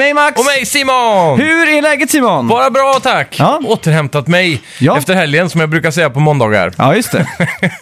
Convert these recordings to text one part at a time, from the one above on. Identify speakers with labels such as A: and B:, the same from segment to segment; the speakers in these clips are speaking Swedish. A: Hej Simon!
B: Hur är läget Simon?
A: Bara bra tack!
B: Ja.
A: Återhämtat mig
B: Ja.
A: efter helgen som jag brukar säga på måndagar.
B: Ja, just det.
A: Men det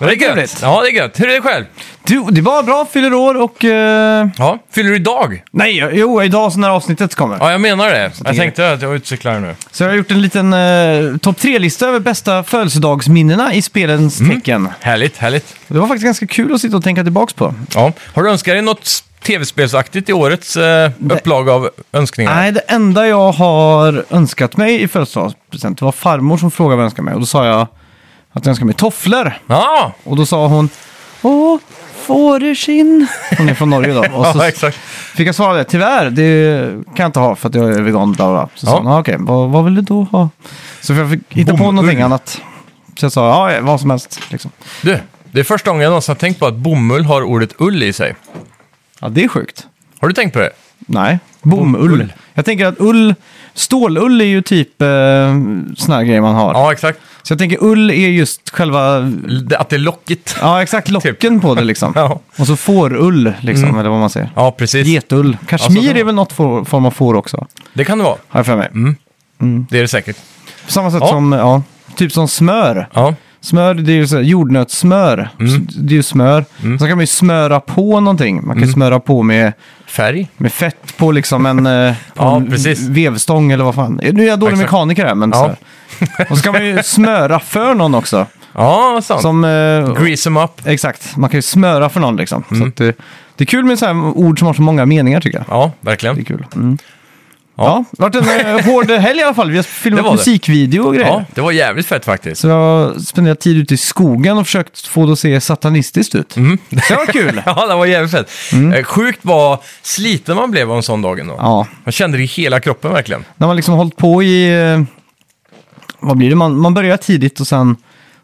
B: Vad
A: är gött.
B: trevligt.
A: Ja, det är gött. Hur är det själv?
B: Du, det var bra, fyller år och... eh,
A: Ja. Fyller du idag?
B: nej, jo, idag så när avsnittet kommer.
A: Ja, jag menar det. Jag
B: det-
A: tänkte att jag var ute och cyklade nu.
B: Så jag har gjort en liten uh, topp tre-lista över bästa födelsedagsminnena i spelens
A: Mm.
B: tecken.
A: Härligt, härligt.
B: Det var faktiskt ganska kul att sitta och tänka tillbaks på.
A: Ja. Har du önskat dig något tv-spelsaktigt i årets eh, upplaga av önskningar?
B: Nej, det enda jag har önskat mig i födelsedagspresent det var farmor som frågade vad jag önskade mig. Och då sa jag att jag önskade mig tofflor.
A: Ja,
B: Och då sa hon Åh, fåreskinn. Hon är från Norge då. Och så
A: ja exakt.
B: Fick jag svara det? Tyvärr, det kan jag inte ha för att jag är vegan. Bla bla. Så
A: Ja.
B: sa hon, "Ah, okej, vad, vad vill du då ha? Så jag fick hitta på
A: Bomull.
B: någonting annat. Så jag sa, ja, vad som helst. Liksom.
A: Du, det är första gången jag någonsin har tänkt på att bomull har ordet ull i sig.
B: Ja, det är sjukt.
A: Har du tänkt på det?
B: Nej, bomull.
A: Bomull.
B: Jag tänker att ull, stålull är ju typ eh, sån här grej man har.
A: Ja, exakt.
B: Så jag tänker ull är just själva,
A: Att det är lockigt.
B: ja exakt locken på det liksom.
A: Typ. Ja. Mm.
B: Och så fårull liksom, eller vad man säger.
A: Ja, precis.
B: Getull. Kashmir
A: Alltså, det-
B: är väl något for, form av får också,
A: Det kan det vara.
B: har jag för mig.
A: Det är det säkert.
B: På samma sätt
A: Mm. Ja.
B: som, ja, typ som smör.
A: Ja,
B: Smör, det är ju så här, jordnötssmör.
A: Mm.
B: S- Det är ju smör. Sen kan man ju smöra på någonting. Man
A: Mm.
B: kan smöra på med,
A: färg.
B: med fett på liksom en, eh, på
A: Ja,
B: en
A: precis.
B: vevstång eller vad fan. Nu är jag dålig
A: Exakt.
B: mekaniker här, men
A: Ja.
B: så här. Och så kan man ju smöra för någon också.
A: Ja, sant.
B: Som, eh,
A: Grease them up.
B: exakt, man kan ju smöra för någon liksom. Så
A: Mm.
B: att det, det är kul med så här ord som har så många meningar tycker jag.
A: Ja,
B: Det är
A: verkligen.
B: kul. Mm. Ja. det har varit en eh, hård helg i alla fall. Vi har
A: Det
B: filmat
A: var det.
B: musikvideo och grejer.
A: Ja, det var jävligt fett faktiskt.
B: Så jag har spenderat tid ute i skogen och försökt få det att se satanistiskt ut.
A: Mm.
B: Så det var kul.
A: Ja, det var jävligt fett. Eh, Sjukt vad sliten man blev av en sån dag ändå.
B: Mm. Ja,
A: Man kände det i hela kroppen verkligen.
B: när man liksom har hållit på i... eh, Vad blir det? Man, man börjar tidigt och sen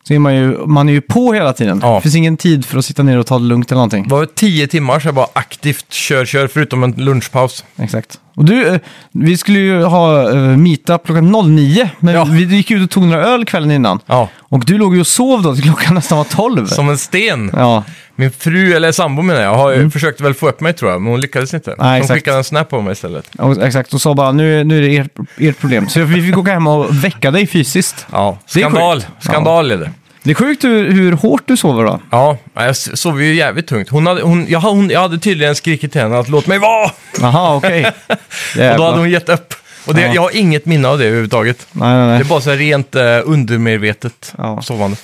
B: så är man ju, man är ju på hela tiden.
A: Ja.
B: Det finns ingen tid för att sitta ner och ta det lugnt eller någonting.
A: Det var tio timmar så jag bara aktivt kör, kör, förutom en lunchpaus.
B: Exakt. Och du, eh, vi skulle ju ha eh, meetup klockan 09, men
A: Ja.
B: vi gick ut och tog några öl kvällen innan.
A: Ja,
B: Och du låg ju och sov då till klockan nästan var 12.
A: som en sten.
B: Ja, Mm.
A: Min fru, eller sambo menar jag, har försökte väl få upp mig tror jag, men hon lyckades inte. hon
B: exakt.
A: skickade en snap på mig istället.
B: och, exakt. Och sa bara nu, nu är det ert, ert problem. Så vi fick åka hem och väcka dig fysiskt.
A: Ja,
B: Det är
A: skandal.
B: sjukt. Ja.
A: Skandal är det.
B: Det är sjukt hur, hur hårt du sover då.
A: Ja, jag s- sov ju jävligt tungt. Hon hade, hon, jag, hon, jag hade tydligen skrikit till henne att låt mig vara!
B: Jaha, okej.
A: Och
B: Jävlar.
A: då hade hon gett upp. Och det,
B: Ja.
A: jag har inget minne av det överhuvudtaget.
B: Nej, nej,
A: Det
B: nej.
A: är bara så här rent eh, undermedvetet
B: Ja.
A: sovande.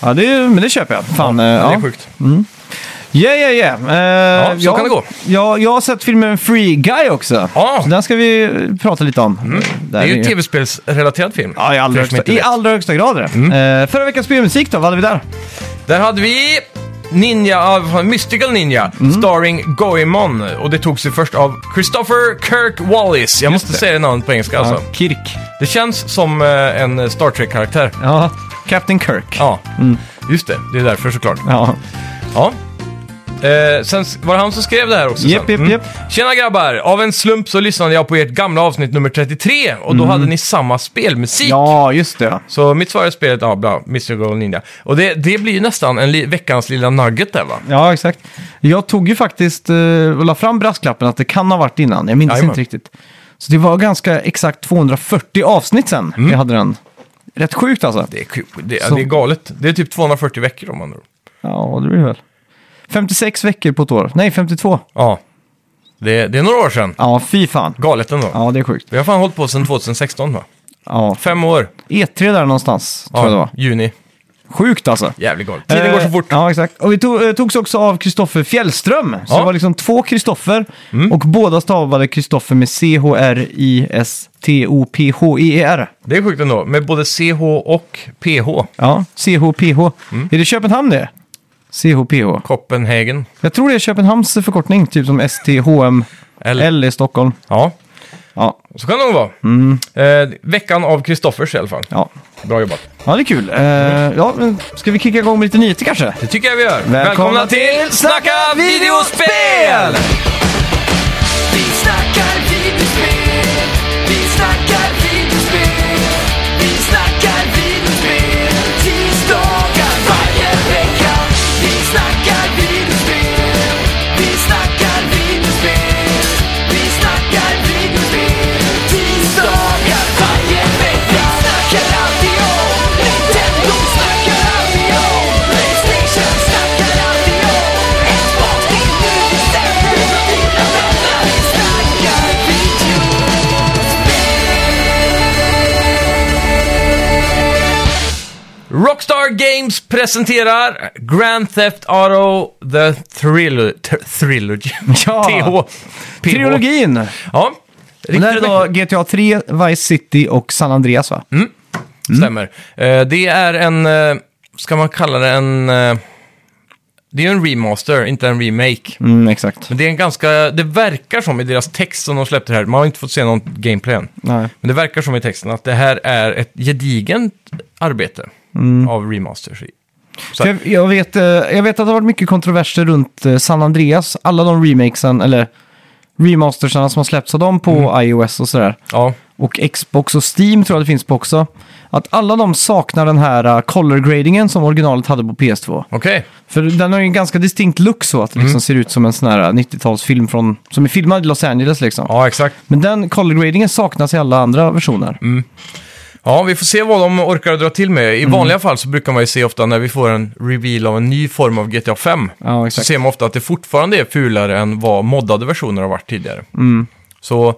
B: Ja, det är, men det köper jag. Fan, eh,
A: Det är
B: ja.
A: sjukt.
B: Yeah, yeah, yeah. Eh,
A: Ja, så kan det gå.
B: Ja, jag har sett filmen Free Guy också.
A: Ja.
B: Så den ska vi eh, prata lite om.
A: Det är ju en tv-spelsrelaterad film.
B: Ja, i allra,
A: För er som
B: högsta,
A: inte
B: i
A: vet.
B: allra högsta grad är det. Eh, förra veckans spelmusik då, vad hade vi där?
A: Där hade vi Ninja, ah, vad fan, Mystical Ninja,
B: Mm.
A: starring Goemon. Och det togs ju först av Christopher Kirk Wallace. Jag måste
B: det.
A: säga det namnet på engelska alltså.
B: Ja, Kirk.
A: Det känns som eh, en Star Trek-karaktär.
B: Ja, Mm. Captain Kirk.
A: Ja, just det. Det är därför såklart.
B: Ja.
A: Ja. Eh, sen s- var det han som skrev det här också.
B: Japp,
A: sen.
B: japp, japp.
A: Tjena grabbar! Av en slump så lyssnade jag på ert gamla avsnitt nummer 33 och då hade ni samma spelmusik.
B: Mm. ja, just det.
A: Så mitt svar är spelet, ja, bra, Mr. Gold Ninja. Och det, det blir ju nästan en li veckans lilla nugget där va?
B: Ja, exakt. Jag tog ju faktiskt eh, och la fram brasklappen att det kan ha varit innan. Jag minns
A: Jajamän.
B: inte riktigt. Så det var ganska exakt 240 avsnitt sen
A: Mm.
B: jag hade den. Rätt sjukt alltså.
A: Det är, kul. det,
B: Så-
A: det är galet. Det är typ 240 veckor om man tror.
B: Ja, det blir det väl. 56 veckor på ett år. Nej, 52.
A: Ja. Det, det är några år sedan.
B: Ja, fy fan.
A: Galet ändå.
B: Ja, det är sjukt.
A: Vi har fan hållit på sedan 2016 va?
B: Ja.
A: Fem år.
B: E3 där någonstans, tror jag det
A: Ja,
B: var.
A: juni.
B: Sjukt alltså.
A: Jävligt galet. Tiden går så
B: Eh,
A: fort.
B: Ja, exakt. Och vi tog, eh, togs också av Kristoffer Fjällström. Så
A: Ja. Mm.
B: det var liksom två Kristoffer. Och båda stavade Kristoffer med C-H-R-I-S-T-O-P-H-E-R.
A: Det är sjukt ändå. Med både CH och PH.
B: Ja, CHPH. Är det Köpenhamn det? CHPH.
A: Copenhagen.
B: Jag tror det är Köpenhamns förkortning, typ som STHM.
A: L.
B: L i Stockholm.
A: Ja,
B: Ja,
A: så kan det nog vara. Eh, veckan av Kristoffers i alla fall.
B: ja.
A: Bra jobbat.
B: ja det är kul. Eh, ja, men ska vi kicka igång med lite nyheter kanske?
A: Det tycker jag vi gör.
B: Välkomna
A: till Snacka videospel!
C: Vi snackar videospel, vi snackar videospel, vi snackar videospel, tisdagar varje vecka. Vi snackar videospel, vi snackar videospel, vi snackar videospel,
A: Rockstar Games presenterar Grand Theft Auto The Thrill... Th- Trilogy.
B: Ja.
A: TH. PH.
B: Trilogin!
A: Ja.
B: Det här är
A: Riktigt
B: då GTA 3, Vice City och San Andreas va?
A: Stämmer. Eh, det är en, eh, ska man kalla det en... eh, det är ju en remaster, inte en remake.
B: Mm, exakt.
A: Men det är en ganska, det verkar som i deras text som de släppte här, man har inte fått se någon gameplay än.
B: Nej.
A: Men det verkar som i texten att det här är ett gedigent arbete av remasters. Så-
B: För jag, jag, vet, eh, jag vet att det har varit mycket kontroverser runt eh, San Andreas. Alla de remakesen, eller remastersarna som har släppts av dem på iOS och sådär.
A: Ja,
B: Och Xbox och Steam tror jag det finns på också. Att alla de saknar den här eh, color gradingen som originalet hade på PS2.
A: okej.
B: För den har ju en ganska distinkt look så att det
A: Mm.
B: liksom ser ut som en sån här 90-talsfilm från, som är filmad i Los Angeles liksom.
A: Ja, exakt.
B: Men den color gradingen saknas i alla andra versioner.
A: Mm. Ja, vi får se vad de orkar dra till med. I
B: Mm.
A: vanliga fall så brukar man ju se ofta när vi får en reveal av en ny form av GTA 5.
B: Ja,
A: så
B: exakt.
A: ser man ofta att det fortfarande är fulare än vad moddade versioner har varit tidigare.
B: Mm.
A: Så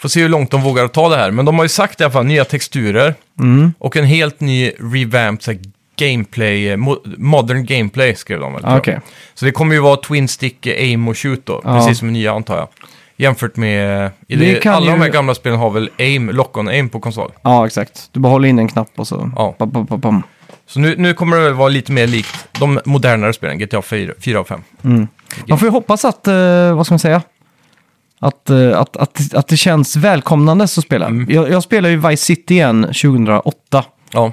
A: får se hur långt de vågar ta det här. Men de har ju sagt i alla fall nya texturer
B: Mm.
A: och en helt ny revamped så här, gameplay, eh, mo- modern gameplay skrev de väl. tror jag.
B: Okej.
A: Så det kommer ju vara twin stick eh, aim och shoot då,
B: Ja.
A: precis som i nya antar jag. Jämfört med, i
B: Det
A: det,
B: kan
A: alla de här
B: ju-
A: gamla spelen har väl aim, lock-on aim på konsol.
B: Ja, exakt. Du bara håller in en knapp och så...
A: Ja.
B: Pam, pam, pam, pam.
A: Så nu, nu kommer det väl vara lite mer likt de modernare spelen, GTA 4, 4 och 5.
B: Man får ju hoppas att, eh, vad ska man säga? Att, eh, att, att, att det känns välkomnande att spela.
A: Mm.
B: Jag, jag spelade ju Vice City igen 2008.
A: Ja,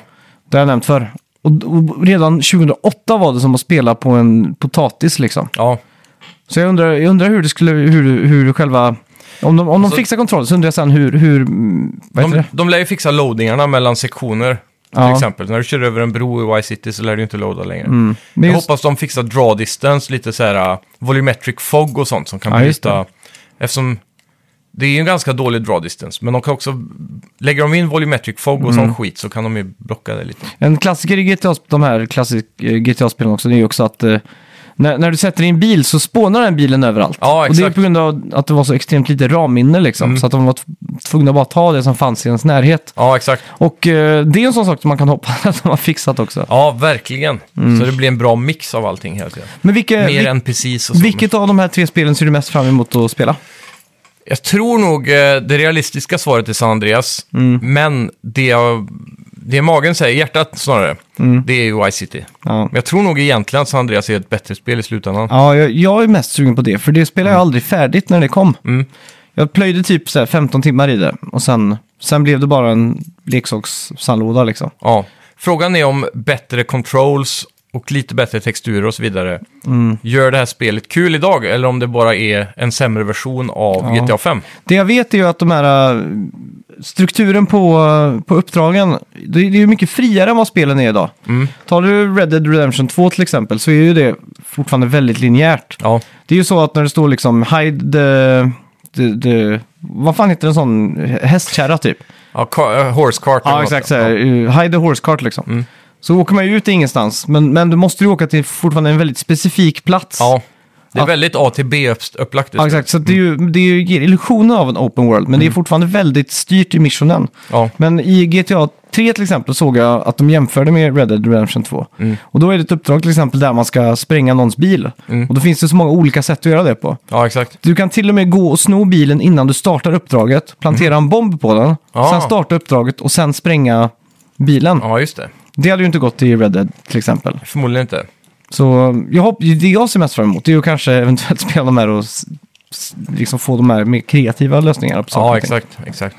B: Det har jag nämnt förr. Och, och redan 2008 var det som att spela på en potatis liksom.
A: ja.
B: Så jag undrar, jag undrar hur det skulle, hur, hur själva... Om de, om de
A: Alltså-
B: fixar kontrollen så undrar jag sen hur, hur mm, vad heter
A: De,
B: det?
A: de lär ju fixa loadingarna mellan sektioner. Till
B: Ja. Mm.
A: exempel, när du kör över en bro i Y-City så lär du ju inte loada längre.
B: Men
A: jag
B: just-
A: hoppas de fixar draw distance, lite så här uh, volumetric fog och sånt som kan
B: Ja, just
A: bryta. Eftersom det är ju en ganska dålig draw distance, men de kan också, lägger de in volumetric fog och
B: Mm.
A: sån skit så kan de ju blocka det lite.
B: En klassiker i GTA, de här klassisk, eh, GTA-spelen också, det är ju också att eh, när, när du sätter in en bil så spånar den bilen överallt.
A: Ja,
B: och det är
A: exakt. Mm.
B: på grund av att det var så extremt lite ramminne liksom. Så att de var tv- tvungna att bara ta det som fanns i ens närhet.
A: Ja, exakt.
B: Och eh, det är en sån sak som man kan hoppas att de har fixat också.
A: Ja, verkligen. Så det blir en bra mix av allting hela tiden.
B: Men vilke,
A: Mer
B: Mm. Eh, vil,
A: NPCs och så. men-
B: vilket av de här tre spelen ser du mest fram emot att spela?
A: Jag tror nog eh, det realistiska svaret är San Andreas.
B: Mm.
A: Men det, jag, det magen säger, hjärtat snarare, det är ju Y-City.
B: Mm. Ja.
A: Men jag tror nog egentligen att San Andreas är ett bättre spel i slutändan.
B: Ja, jag, jag är mest sugen på det, för det spelade jag aldrig färdigt när det kom. Jag plöjde typ så här 15 timmar i det och sen, sen blev det bara en leksakssandlåda liksom.
A: Ja. Frågan är om bättre controls och lite bättre texturer och så vidare
B: Mm.
A: gör det här spelet kul idag eller om det bara är en sämre version av
B: Ja.
A: GTA 5.
B: Det jag vet är ju att de här äh, strukturen på, äh, på uppdragen, det, det är ju mycket friare än vad spelen är idag. Tar du Red Dead Redemption 2 till exempel så är ju det fortfarande väldigt linjärt.
A: Ja,
B: Det är ju så att när det står liksom hide the, the, the vad fan heter en sån hästkärra typ?
A: ja ka- eh, Horse Cart. eller
B: Ja,
A: något.
B: exakt. Så här, uh, hide the horse cart liksom.
A: Mm.
B: Så åker man ju ut ingenstans, men, men du måste ju åka till fortfarande en väldigt specifik plats.
A: Ja. Det är
B: Att-
A: väldigt A till B-upplagt.
B: Ja, exakt. Så det, är ju, det är ju, ger illusionen av en open world, men det är fortfarande väldigt styrt i missionen.
A: Ja.
B: Men i GTA 3 till exempel såg jag att de jämförde med Red Dead Redemption 2. Och då är det ett uppdrag till exempel där man ska spränga någons bil. Och då finns det så många olika sätt att göra det på.
A: ja, exakt.
B: Du kan till och med gå och sno bilen innan du startar uppdraget, plantera en bomb på den,
A: Ah.
B: sen starta uppdraget och sen spränga bilen.
A: Ja, just det.
B: Det hade ju inte gått i Red Dead till exempel.
A: Förmodligen inte.
B: Så jag hopp, det jag ser mest fram emot är ju kanske eventuellt spela de här och s- s- liksom få de här mer kreativa lösningarna på saker
A: Ja,
B: och ting. Mm.
A: exakt. exakt.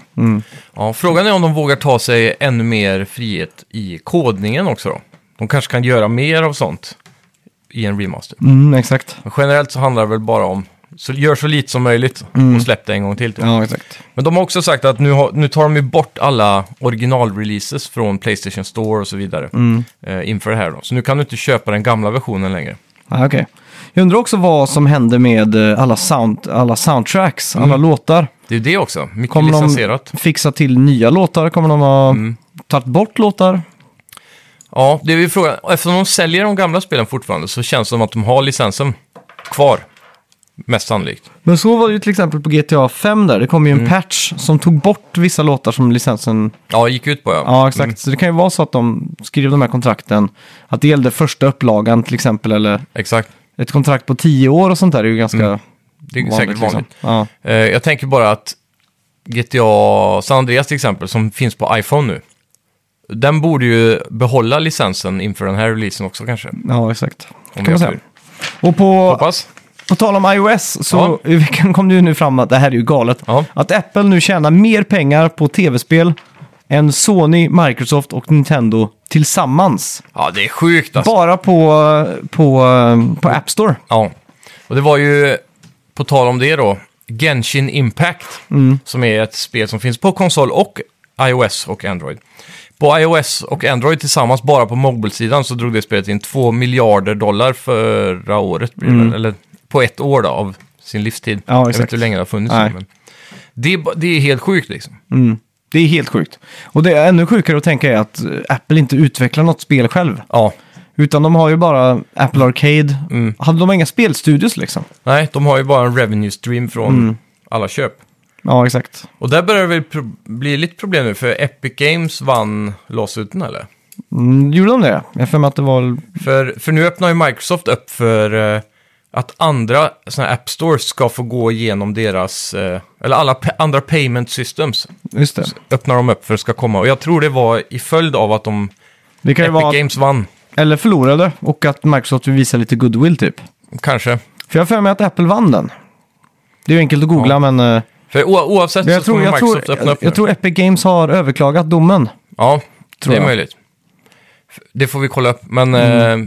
A: Ja, frågan är om de vågar ta sig ännu mer frihet i kodningen också då. De kanske kan göra mer av sånt i en remaster.
B: Mm, exakt.
A: Men generellt så handlar det väl bara om så gör så lite som möjligt
B: Mm.
A: och släpp det en gång till. Typ.
B: Ja, exakt.
A: Men de har också sagt att nu, har, nu tar de ju bort alla originalreleases från Playstation Store och så vidare
B: Mm.
A: eh, inför det här då. Så nu kan du inte köpa den gamla versionen längre.
B: Ah, okay. Jag undrar också vad som händer med eh, alla, sound, alla soundtracks, alla låtar.
A: Det är ju det också, mycket
B: Kommer de
A: Mm. licensierat. Mm.
B: fixa till nya låtar? Kommer de ha tagit bort låtar?
A: Ja, det är ju frågan. Eftersom de säljer de gamla spelen fortfarande så känns det som att de har licensen kvar. Mest sannolikt.
B: Men så var det ju till exempel på GTA 5 där. Det kom ju
A: Mm.
B: en patch som tog bort vissa låtar som licensen...
A: Ja, gick ut på ja.
B: Ja, exakt. Så det kan ju vara så att de skrev de här kontrakten. Att det gällde första upplagan till exempel. Eller
A: Exakt.
B: ett kontrakt på tio år och sånt där är ju ganska
A: Mm. Det är
B: vanligt.
A: säkert vanligt.
B: liksom. Ja.
A: Eh, jag tänker bara att GTA San Andreas till exempel, som finns på iPhone nu. Den borde ju behålla licensen inför den här releasen också kanske. Om
B: ja, exakt.
A: vi
B: Kan man
A: har
B: säga.
A: tur.
B: Och på,
A: Hoppas.
B: På tal om iOS så i veckan kom det ju nu fram att det här är ju galet.
A: Ja.
B: Att Apple nu tjänar mer pengar på tv-spel än Sony, Microsoft och Nintendo tillsammans.
A: Ja, det är sjukt alltså.
B: Bara på, på, på App Store.
A: Ja, och det var ju, på tal om det då, Genshin Impact,
B: Mm.
A: som är ett spel som finns på konsol och iOS och Android. På iOS och Android tillsammans, bara på mobilsidan, så drog det spelet in 2 miljarder dollar förra året, blir det väl, eller på ett år då, av sin livstid.
B: Mm. Ja,
A: Jag vet
B: exakt.
A: inte hur länge det har funnits.
B: Nej.
A: Men det, är, ba- det är helt sjukt liksom.
B: Det är helt sjukt. Och det är ännu sjukare att tänka är att Apple inte utvecklar något spel själv.
A: Ja,
B: Utan de har ju bara Apple Arcade.
A: Mm.
B: Hade de inga spelstudios liksom?
A: nej, de har ju bara en revenue stream från
B: Mm.
A: alla köp.
B: Ja, exakt.
A: Och där börjar det väl pro- bli lite problem nu, för Epic Games vann lawsuiten eller?
B: Mm, gjorde de det? Jag har för mig att det var...
A: För, för nu öppnar ju Microsoft upp för eh, att andra såna här app stores ska få gå igenom deras, eh, eller alla pa- andra payment systems
B: Just det.
A: öppnar de upp för att ska komma. Och jag tror det var i följd av att de,
B: Det kan ju
A: Epic
B: vara... Att,
A: Games vann,
B: eller förlorade. Och att Microsoft vill visa lite goodwill typ.
A: kanske.
B: För jag har för mig att Apple vann den. Det är ju enkelt att googla, men... eh,
A: För o- oavsett
B: jag,
A: så
B: tror,
A: kommer
B: jag,
A: Microsoft
B: tror,
A: öppna
B: jag,
A: upp nu.
B: tror Epic Games har överklagat domen.
A: ja,
B: tror
A: det är
B: jag.
A: möjligt. F- Det får vi kolla upp, men
B: Mm.
A: eh,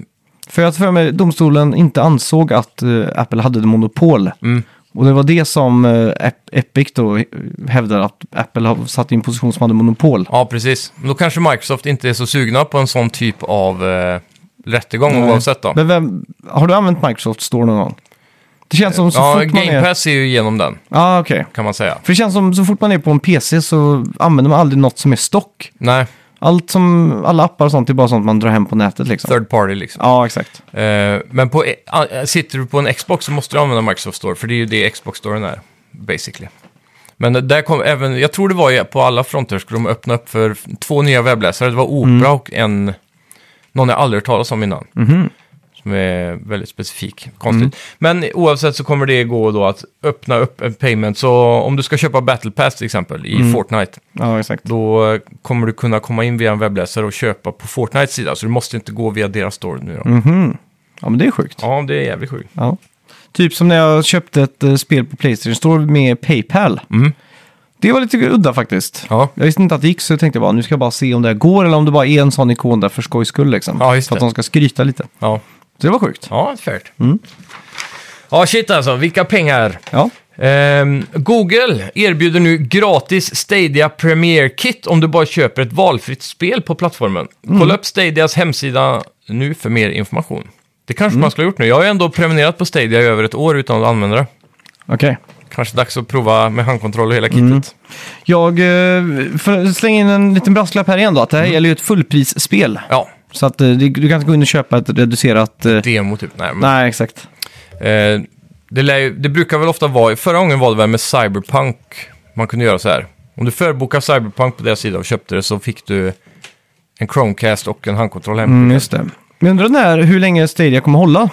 B: För jag har för mig domstolen inte ansåg att eh, Apple hade ett monopol.
A: Mm.
B: Och det var det som eh, Ep- Epic då hävdade att Apple har satt i en position som hade monopol.
A: ja, precis. Men Då kanske Microsoft inte är så sugna på en sån typ av eh, rättegång oavsett då.
B: Men vem, har du använt Microsoft Store någon gång? Det känns som så
A: Ja,
B: fort man
A: Game
B: är...
A: Pass är ju igenom den,
B: Ja, okej.
A: kan man säga.
B: För det känns som så fort man är på en PC så använder man aldrig något som är stock.
A: Nej,
B: Allt som, alla appar och sånt är bara sånt man drar hem på nätet liksom.
A: third party liksom.
B: Ja, exakt.
A: Eh, men på, eh, sitter du på en Xbox så måste du använda Microsoft Store, för det är ju det Xbox Storen är, basically. Men eh, där kom även, jag tror det var i- på alla fronter skulle de öppna upp för f- två nya webbläsare. Det var Opera och en, någon jag aldrig hört talas om innan. Som är väldigt specifik, konstigt. Men oavsett så kommer det gå då att öppna upp en payment. Så om du ska köpa Battle Pass till exempel i Fortnite,
B: Ja, exakt.
A: då eh, kommer du kunna komma in via en webbläsare och köpa på Fortnites sida. Så du måste inte gå via deras store nu då.
B: Ja, men det är sjukt.
A: Ja, det är jävligt sjukt.
B: Ja. Typ som när jag köpte ett eh, spel på Playstation Store med Paypal.
A: Mm.
B: Det var lite udda faktiskt.
A: Ja.
B: Jag visste inte att det gick så jag tänkte bara nu ska jag bara se om det här går eller om det bara är en sån ikon där för skojs skull liksom.
A: Ja, just
B: för att
A: det.
B: de ska skryta lite.
A: Ja, Mm.
B: Så det var sjukt.
A: ja fairt. Ja, shit alltså, vilka pengar.
B: Ja,
A: Ehm, Google erbjuder nu gratis Stadia Premier Kit om du bara köper ett valfritt spel på plattformen. Kolla upp Stadias hemsida nu för mer information. Det kanske man skulle ha gjort nu. Jag har ju ändå prenumererat på Stadia i över ett år utan att använda det.
B: okej.
A: Kanske dags att prova med handkontroll och hela kittet.
B: Jag eh, för att slänga in en liten brasklapp här igen då. Att
A: Mm.
B: det här gäller ju ett fullprisspel.
A: Ja,
B: Så att eh, det- du kan inte gå in och köpa ett reducerat... eh,
A: demo typ. Nej, men,
B: Nej, exakt.
A: Eh, det, lär, ju- det brukar väl ofta vara, förra gången var det väl med Cyberpunk man kunde göra så här. Om du förbokade Cyberpunk på deras sida och köpte det så fick du en Chromecast och en handkontroll hem.
B: Mm, just det. Men jag undrar när, hur länge Stadia kommer hålla?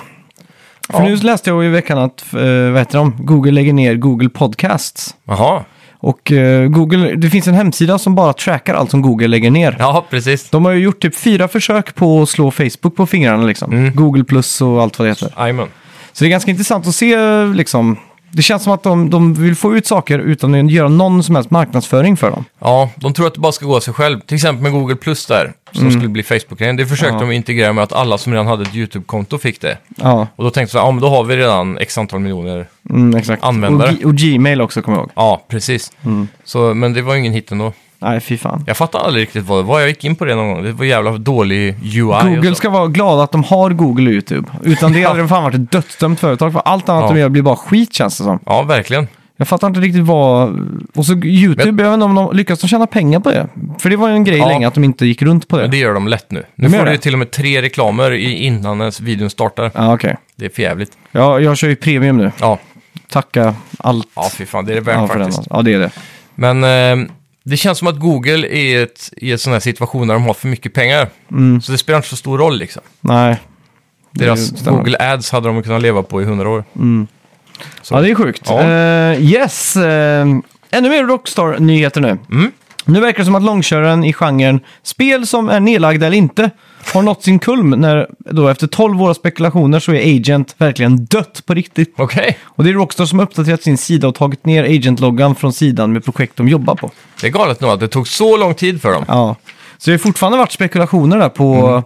B: För
A: Ja.
B: nu läste jag i veckan att, eh, vad heter de, Google lägger ner Google Podcasts.
A: Jaha,
B: Och eh, Google, det finns en hemsida som bara trackar allt som Google lägger ner.
A: ja precis.
B: De har ju gjort typ fyra försök på att slå Facebook på fingrarna liksom.
A: Mm.
B: Google Plus och allt vad det heter.
A: Jajamän.
B: Så det är ganska intressant att se eh, liksom. Det känns som att de, de vill få ut saker utan att göra någon som helst marknadsföring för dem.
A: Ja, de tror att det bara ska gå av sig själv. Till exempel med Google Plus där, som skulle bli Facebook-grejen. Det försökte
B: Ja.
A: de integrera med att alla som redan hade ett YouTube-konto fick det.
B: Ja,
A: Och då tänkte jag, ja men då har vi redan x antal miljoner.
B: mm, exakt.
A: Användare.
B: Och, G- och Gmail också kommer jag ihåg.
A: Ja, precis. Så, men det var ju ingen hit ändå.
B: Nej, fy fan.
A: Jag fattade aldrig riktigt vad det var. Jag gick in på det någon gång. Det var jävla dålig UI. och
B: Google
A: så.
B: ska vara glada att de har Google och YouTube. Utan det hade det fan varit ett dödsdömt företag. För allt annat
A: Ja.
B: de gör blir bara skit känns det som.
A: Ja, verkligen.
B: Jag fattar inte riktigt vad... Och så YouTube, jag vet inte om de lyckas de tjäna pengar på det. För det var ju en grej
A: Ja.
B: länge att de inte gick runt på det.
A: Men det gör de lätt nu. Nu
B: De gör
A: får du ju
B: det.
A: till och med tre reklamer i- innan ens videon startar.
B: Ja, okej.
A: Det är för jävligt.
B: Ja, jag kör ju premium nu.
A: Ja,
B: tacka allt.
A: Ja, fy fan, det är det
B: Ja,
A: värt
B: för den,
A: faktiskt.
B: alltså. ja, det är det.
A: Men eh, det känns som att Google är ett, i en sån här situation där de har för mycket pengar. Så det spelar inte så stor roll liksom.
B: Nej. Mm. Det
A: Deras
B: stämmer. Mm.
A: Google Ads hade de kunnat leva på i hundra år. Så.
B: Ja, det är sjukt.
A: Ja.
B: Eh, yes! eh, ännu mer Rockstar-nyheter nu. Nu verkar det som att långköraren i genren spel som är nedlagda eller inte har nått sin kulm när då efter 12 år av spekulationer så är Agent verkligen dött på riktigt.
A: Okej,
B: Och det är Rockstar som har uppdaterat sin sida och tagit ner Agent-loggan från sidan med projekt de jobbar på.
A: det är galet nog att det tog så lång tid för dem.
B: Ja. Så det har fortfarande varit spekulationer där på,
A: Mm.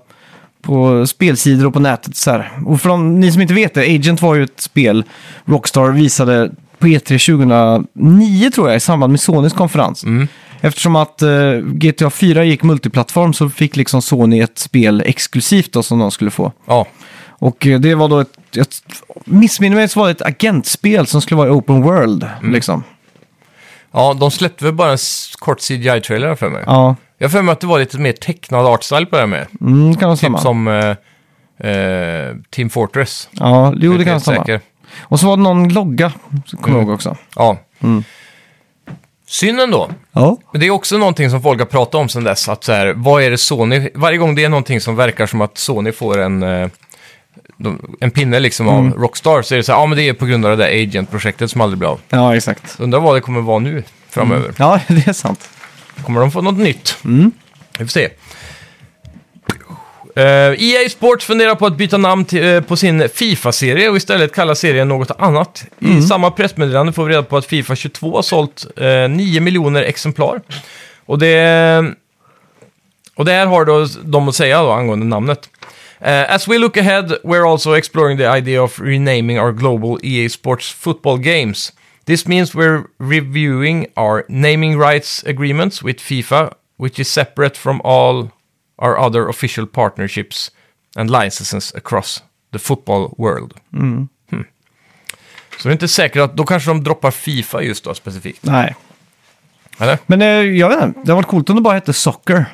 B: på spelsidor och på nätet. Så här. Och för de, ni som inte vet det, Agent var ju ett spel Rockstar visade på E3 2009 tror jag, i samband med Sonys konferens.
A: Mm.
B: Eftersom att eh, GTA 4 gick multiplattform så fick liksom Sony ett spel exklusivt då, som de skulle få.
A: Ja,
B: Och eh, det var då ett, ett missminner mig så var det ett agentspel som skulle vara i open world.
A: Mm.
B: Liksom.
A: ja de släppte väl bara en s- kort CGI-trailer för mig.
B: Ja,
A: Jag har för mig att det var lite mer tecknad artstyle på det här med.
B: mm, kan det
A: Typ
B: stämma.
A: som eh, eh, Team Fortress.
B: Ja, jo,
A: Jag är
B: det kan
A: helt
B: stämma.
A: säker.
B: Och så var det någon logga, kommer jag ihåg också.
A: Ja.
B: Mm.
A: Synd ändå.
B: Ja.
A: Men det är också någonting som folk har pratat om sedan dess. Att så här, vad är det Sony... Varje gång det är någonting som verkar som att Sony får en, eh, de- en pinne liksom av
B: Mm.
A: Rockstar så är det så här, ja men det är på grund av det där Agent-projektet som aldrig blev av.
B: ja, exakt.
A: Så undrar vad det kommer vara nu framöver.
B: Ja, det är sant.
A: Kommer de få något nytt? Vi får se. Eh, EA Sports funderar på att byta namn till, eh, på sin Fifa-serie och istället kalla serien något annat. I samma pressmeddelande får vi reda på att Fifa 22 har sålt eh, 9 miljoner exemplar. Och det, och det här har då de att säga då angående namnet. Eh, as we look ahead, we're also exploring the idea of renaming our global EA Sports football games. This means we're reviewing our naming rights agreements with FIFA, which is separate from all our other official partnerships and licenses across the football world. Hmm. Så det är inte säkert att, då kanske de droppar FIFA just då specifikt.
B: Nej.
A: Eller?
B: Men eh, jag vet inte, det har varit coolt om det bara hette Soccer.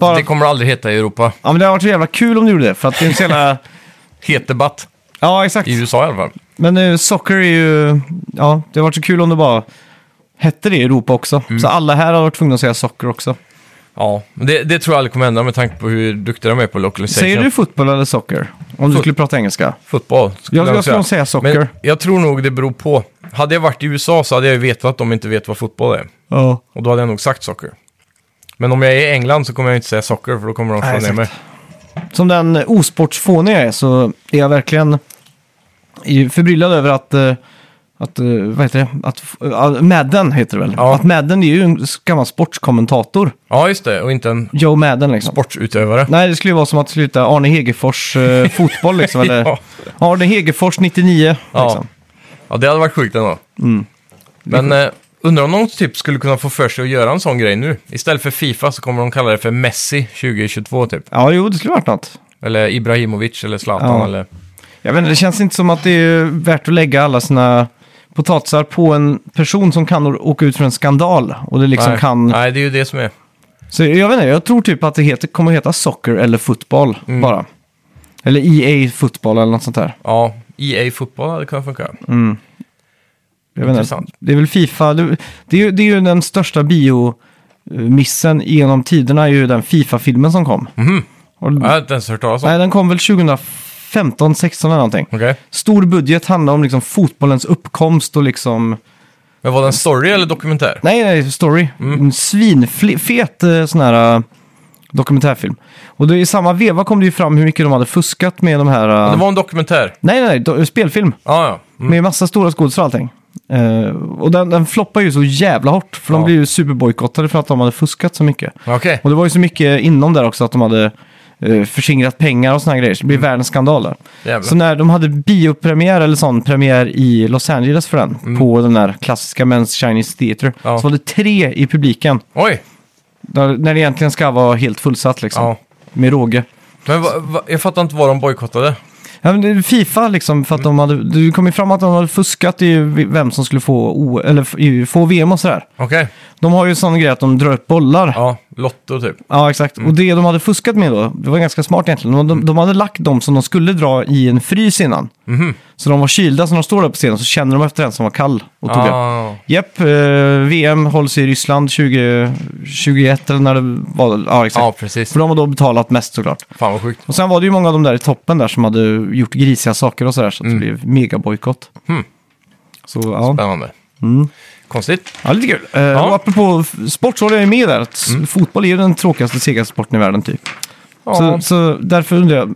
B: Bara,
A: Det kommer aldrig heta i Europa.
B: Ja, men det har varit så jävla kul om du gjorde det, för att det är en så jävla...
A: Het debatt.
B: ja, exakt.
A: I USA i alla fall.
B: Men eh, Soccer är ju... Ja, det har varit så kul om det bara hette det i Europa också. Så alla här har varit tvungna att säga Soccer också.
A: Ja, men det, det tror jag aldrig kommer hända med tanke på hur duktiga de är på localization.
B: Säger du fotboll eller soccer? Om du skulle prata engelska.
A: fotboll? skulle
B: Jag- jag
A: nog
B: skulle nog säga soccer.
A: Men jag tror nog det beror på. Hade jag varit i USA så hade jag ju vetat att de inte vet vad fotboll är.
B: Ja.
A: Och då hade jag nog sagt socker. Men om jag är i England så kommer jag inte säga socker för då kommer de slå
B: Nej,
A: ner mig.
B: Som den osportsfånig jag är så är jag verkligen i- förbryllad över att, eh, att eh, vad heter det, att uh, Madden heter det väl?
A: Ja.
B: Att Madden är ju en gammal sportskommentator.
A: Ja, just det. Och inte en
B: Joe Madden liksom.
A: sportsutövare.
B: Nej, det skulle ju vara som att sluta Arne Hegerfors eh, fotboll liksom. Eller
A: Ja.
B: Arne Hegerfors 99
A: Ja.
B: liksom. Mm.
A: ja, det hade varit sjukt ändå. Men eh, undrar om någon typ skulle kunna få för sig att göra en sån grej nu. Istället för Fifa så kommer de kalla det för Messi 2022 typ.
B: Ja, jo, det skulle varit något.
A: Eller Ibrahimovic eller Zlatan
B: Ja.
A: eller...
B: Jag vet inte, det känns inte som att det är värt att lägga alla sina potatisar på en person som kan å- åka ut för en skandal. Och det liksom
A: Nej.
B: kan...
A: Nej, det är ju det som är...
B: Så jag vet inte, jag tror typ att det heter, kommer att heta soccer eller fotboll
A: Mm.
B: bara. Eller EA fotboll eller något sånt där.
A: Ja, EA fotboll hade kunnat funka.
B: Mm. Jag vet inte,
A: Intressant.
B: det är väl Fifa, det, det, är, ju- det är ju den största biomissen genom tiderna, är ju den Fifa-filmen som kom.
A: Mhm.
B: Och,
A: Jag har inte ens hört talas om.
B: Nej, den kom väl 2015, 16 eller någonting.
A: Okej.
B: Stor budget handlar om liksom fotbollens uppkomst och liksom...
A: Men var det en story eller dokumentär?
B: Nej, nej, story.
A: Mm.
B: En svinfet eh, sån här eh, dokumentärfilm. Och det, i samma veva kom det ju fram hur mycket de hade fuskat med de här... eh,
A: Det var en dokumentär.
B: Nej, nej, nej, do- spelfilm.
A: Ja, ja. Mm.
B: Med massa stora skådisar och allting. Eh, och den, den floppar ju så jävla hårt. För de
A: Ja.
B: blev ju superbojkottade för att de hade fuskat så mycket.
A: Okej.
B: Och det var ju så mycket inom där också att de hade eh, förskingrat pengar och såna här grejer. Så det blev världens skandal där.
A: Mm. Jävlar.
B: Så när de hade biopremiär eller sån premiär i Los Angeles för den. På den där klassiska Men's Chinese Theatre.
A: Mm. Ja.
B: Så var det tre i publiken.
A: Oj!
B: Där, när det egentligen ska vara helt fullsatt liksom.
A: Ja.
B: Med råge.
A: Men va, va, jag fattar inte vad de bojkottade.
B: Ja, men det är Fifa liksom, för att de hade, det kom ju fram att de hade fuskat i vem som skulle få, o, eller f- i- få VM och sådär.
A: Okej.
B: De har ju sån grej att de drar upp bollar.
A: Ja, Lotto typ.
B: Ja, exakt. Och det de hade fuskat med då, det var ganska smart egentligen. De, de, de hade lagt dem som de skulle dra i en frys innan.
A: Mhm.
B: Så de var kylda, så när de står där på scenen så känner de efter en som var kall och tog den.
A: Ah,
B: Japp, eh, VM hålls i Ryssland 2021 eller när det var. Ja, exakt.
A: ja, precis.
B: För de har då betalat mest såklart.
A: Fan vad sjukt.
B: Och sen var det ju många av de där i toppen där som hade gjort grisiga saker och sådär, så att det blev megabojkott.
A: Mm.
B: Så ja. Mm.
A: Spännande. Konstigt.
B: Ja, lite kul. Eh, Och apropå f- sport så håller jag ju med där. Att s- Fotboll är ju den tråkigaste, segaste sporten i världen typ.
A: Mm. Ja.
B: Så, så därför undrar jag.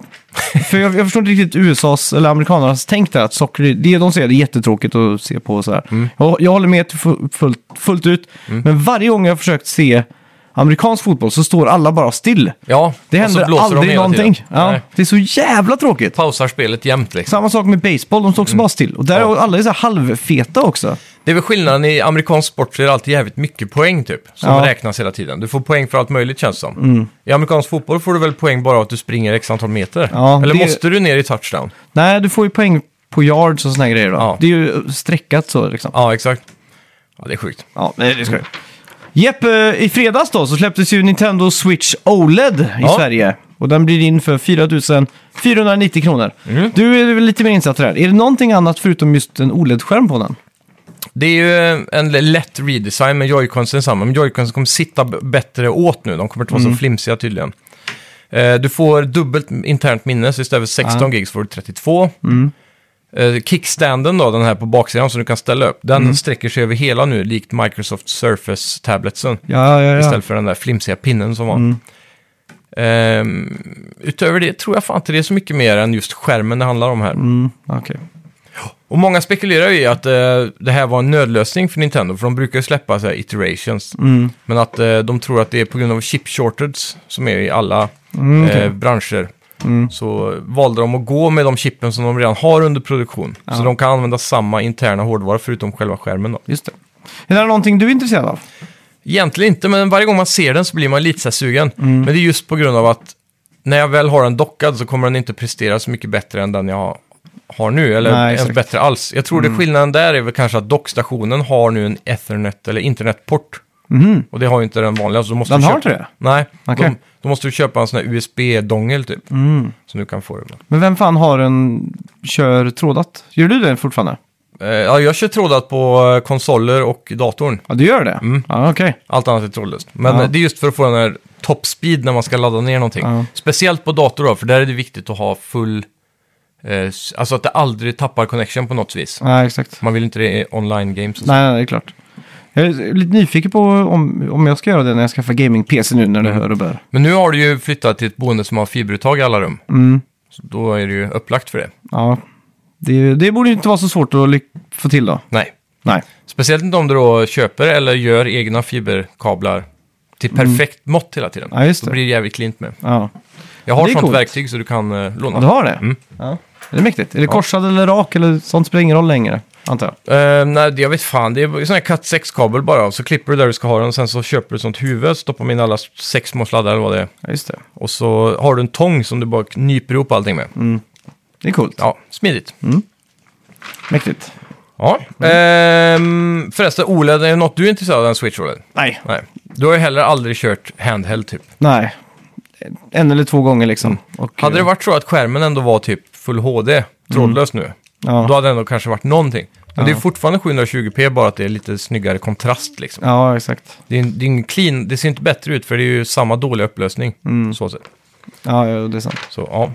B: För jag, jag förstår inte riktigt USAs eller amerikanernas tänk där. Att socker, det de säger det är jättetråkigt att se på och sådär.
A: Mm.
B: Jag, jag håller med till fu- fullt, fullt ut. Men varje gång jag har försökt se amerikansk fotboll så står alla bara still.
A: Ja,
B: Det
A: och så
B: händer
A: blåser de
B: aldrig
A: hela tiden.
B: någonting. Ja,
A: Nej.
B: det är så jävla tråkigt.
A: Pausar spelet jämt liksom.
B: Samma sak med baseball, de står också bara still. Och där är
A: Ja.
B: alla är så här halvfeta också.
A: Det är väl skillnaden i amerikansk sport så är det alltid jävligt mycket poäng typ. Som
B: Ja. Mm.
A: räknas hela tiden. Du får poäng för allt möjligt känns det som. I amerikansk fotboll får du väl poäng bara av att du springer x antal meter?
B: Ja,
A: Eller
B: det-
A: måste du ner i touchdown?
B: Nej, du får ju poäng på yards och såna här grejer då.
A: Ja.
B: Det är ju streckat så liksom.
A: Ja, exakt. Ja, det är sjukt.
B: Ja, men det ska jag. Jepp, eh, i fredags då så släpptes ju Nintendo Switch OLED i
A: Ja.
B: Sverige. Och den blir in för 4 490 kronor. Du är väl lite mer insatt i det här. Är det någonting annat förutom just en OLED-skärm på den?
A: Det är ju en l- lätt redesign med joyconsen samma. Men joyconsen kommer sitta b- bättre åt nu. De kommer inte vara
B: Mm.
A: så flimsiga tydligen. Eh, du får dubbelt internt minne, så istället för 16 gig så får du 32.
B: Mm.
A: Eh, kickstanden då, den här på baksidan som du kan ställa upp. Den
B: Mm.
A: sträcker sig över hela nu, likt Microsoft Surface-tabletsen.
B: Ja, Mm. ja, ja.
A: Istället för den där flimsiga pinnen som var. Ehm, utöver det tror jag fan inte det är så mycket mer än just skärmen det handlar om här.
B: Mm, okej.
A: Och många spekulerar ju i att eh, det här var en nödlösning för Nintendo, för de brukar ju släppa så här iterations. Men att eh, de tror att det är på grund av chip shortage som är i alla
B: okej.
A: eh, branscher. Så valde de att gå med de chippen som de redan har under produktion. Så de kan använda samma interna hårdvara förutom själva skärmen då.
B: Just det. Är det här någonting du är intresserad av?
A: Egentligen inte, men varje gång man ser den så blir man lite så här sugen.
B: Mm.
A: Men det är just på grund av att när jag väl har den dockad så kommer den inte prestera så mycket bättre än den jag har nu, eller
B: Nej,
A: ens
B: exakt. Mm.
A: bättre alls. Jag tror det skillnaden där är väl kanske att dockstationen har nu en Ethernet eller internetport. Och det har ju inte den vanliga, så då måste
B: Mhm. Den
A: du
B: har
A: köpa...
B: inte det?
A: Nej,
B: Okej. Mm.
A: då, då måste du köpa en sån här USB-dongel typ. Som du kan få det med.
B: Men vem fan har en kör trådat? Gör du det fortfarande?
A: Eh, ja, jag kör trådat på eh, konsoler och datorn.
B: Ja, du gör det?
A: Mm.
B: Ja, okej.
A: Allt annat är trådlöst. Men
B: Ja.
A: eh, det är just för att få den här top speed när man ska ladda ner någonting.
B: Ja.
A: Speciellt på dator då, för där är det viktigt att ha full... Eh, s- alltså att det aldrig tappar connection på något vis.
B: Ja, exakt.
A: Man vill inte det i online-games. och så.
B: Nej, nej, det är klart. Jag är lite nyfiken på om, om jag ska göra det när jag skaffar gaming-PC nu när det hör och bör.
A: Men nu har du ju flyttat till ett boende som har fiberuttag i alla rum.
B: Mm.
A: Så då är det ju upplagt för det.
B: Ja, det, det borde ju inte vara så svårt att ly- få till då.
A: Nej.
B: Nej.
A: Speciellt inte om du då köper eller gör egna fiberkablar till perfekt mått hela tiden.
B: Mm. Ja, just
A: Då
B: det.
A: blir det jävligt klint med.
B: Ja.
A: Jag har
B: Det är
A: sånt
B: coolt.
A: verktyg så du kan eh, låna.
B: ja, du har det? Ja. Är det mäktigt? Är det korsad eller rak eller sånt spelar ingen roll längre, antar jag.
A: Eh, nej, det- jag vet fan. Det är sån här cat 6-kabel bara. Så klipper du där du ska ha den och sen så köper du ett sånt huvud. Stoppar man in alla sex små sladdar eller vad det är.
B: Ja, just det.
A: Och så har du en tång som du bara nyper ihop allting med.
B: Det är coolt.
A: Ja, smidigt.
B: Mäktigt.
A: Ja. Ehm, förresten, OLED, är det något du är intresserad av? En Switch OLED?
B: Nej.
A: Nej. Du har ju heller aldrig kört handheld typ.
B: Nej. En eller två gånger liksom. Och,
A: Mm. Hade det varit så att skärmen ändå var typ full HD, trådlös nu,
B: Ja.
A: då hade det ändå kanske varit någonting. Men det är fortfarande 720p, bara att det är lite snyggare kontrast liksom.
B: Ja, exakt.
A: Det, är, en- det, är en clean, det ser inte bättre ut för det är ju samma dåliga upplösning. Så, sett.
B: Ja, ja, det är sant.
A: så ja.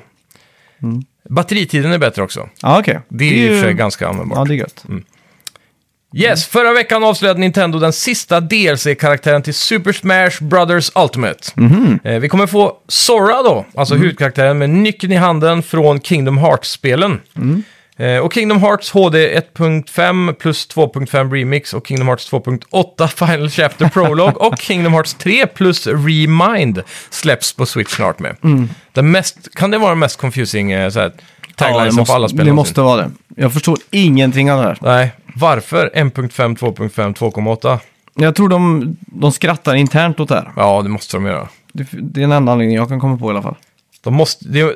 A: Batteritiden är bättre också.
B: Ja, okej.
A: Mm. Det är i och
B: ju-
A: för sig Mm. ganska användbart.
B: Ja, det är gött.
A: Yes, förra veckan avslöjade Nintendo den sista DLC-karaktären till Super Smash Brothers Ultimate.
B: Mhm.
A: Eh, vi kommer få Sora då, alltså huvudkaraktären med nyckeln i handen från Kingdom Hearts-spelen.
B: Mm.
A: Eh, och Kingdom Hearts HD 1.5 plus 2.5 Remix och Kingdom Hearts 2.8 Final Chapter Prologue och Kingdom Hearts 3 plus Remind släpps på Switch snart med.
B: Mm.
A: Den mest, kan det vara den mest confusing eh, så här,
B: det
A: taglinesen
B: måste,
A: på alla spel
B: det
A: någonsin?
B: måste vara det. Jag förstår ingenting av det här.
A: Nej, varför 1.5, 2.5, 2.8?
B: Jag tror de, de skrattar internt åt det här.
A: Ja, det måste de göra.
B: Det, det är den enda anledningen jag kan komma på i alla fall.
A: De måste, det,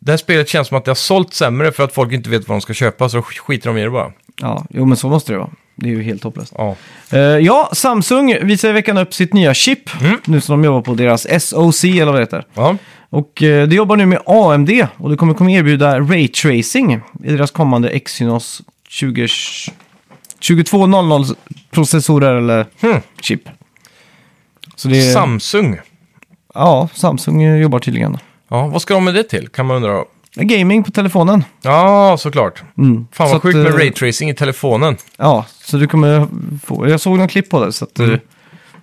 A: det här spelet känns som att det har sålt sämre för att folk inte vet vad de ska köpa, så skiter de i det bara.
B: Ja, jo men så måste det vara. Det är ju helt hopplöst.
A: Ja.
B: Eh, ja, Samsung visar i veckan upp sitt nya chip.
A: Mm.
B: Nu som de jobbar på deras SOC eller vad det heter.
A: ja.
B: Och eh, det jobbar nu med AMD och det kommer komma erbjuda Ray Tracing i deras kommande Exynos 20... 2200-processorer eller
A: Hmm.
B: chip. Så
A: Eh.
B: det är...
A: Samsung.
B: ja, Samsung eh, jobbar tydligen.
A: Ja, vad ska de med det till? Kan man undra.
B: Gaming på telefonen.
A: Ja, såklart.
B: Mm.
A: Fan
B: Så
A: vad
B: att,
A: sjukt med
B: eh,
A: raytracing i telefonen.
B: Ja, så du kommer få... Jag såg någon klipp på det. Så att,
A: Mm.
B: du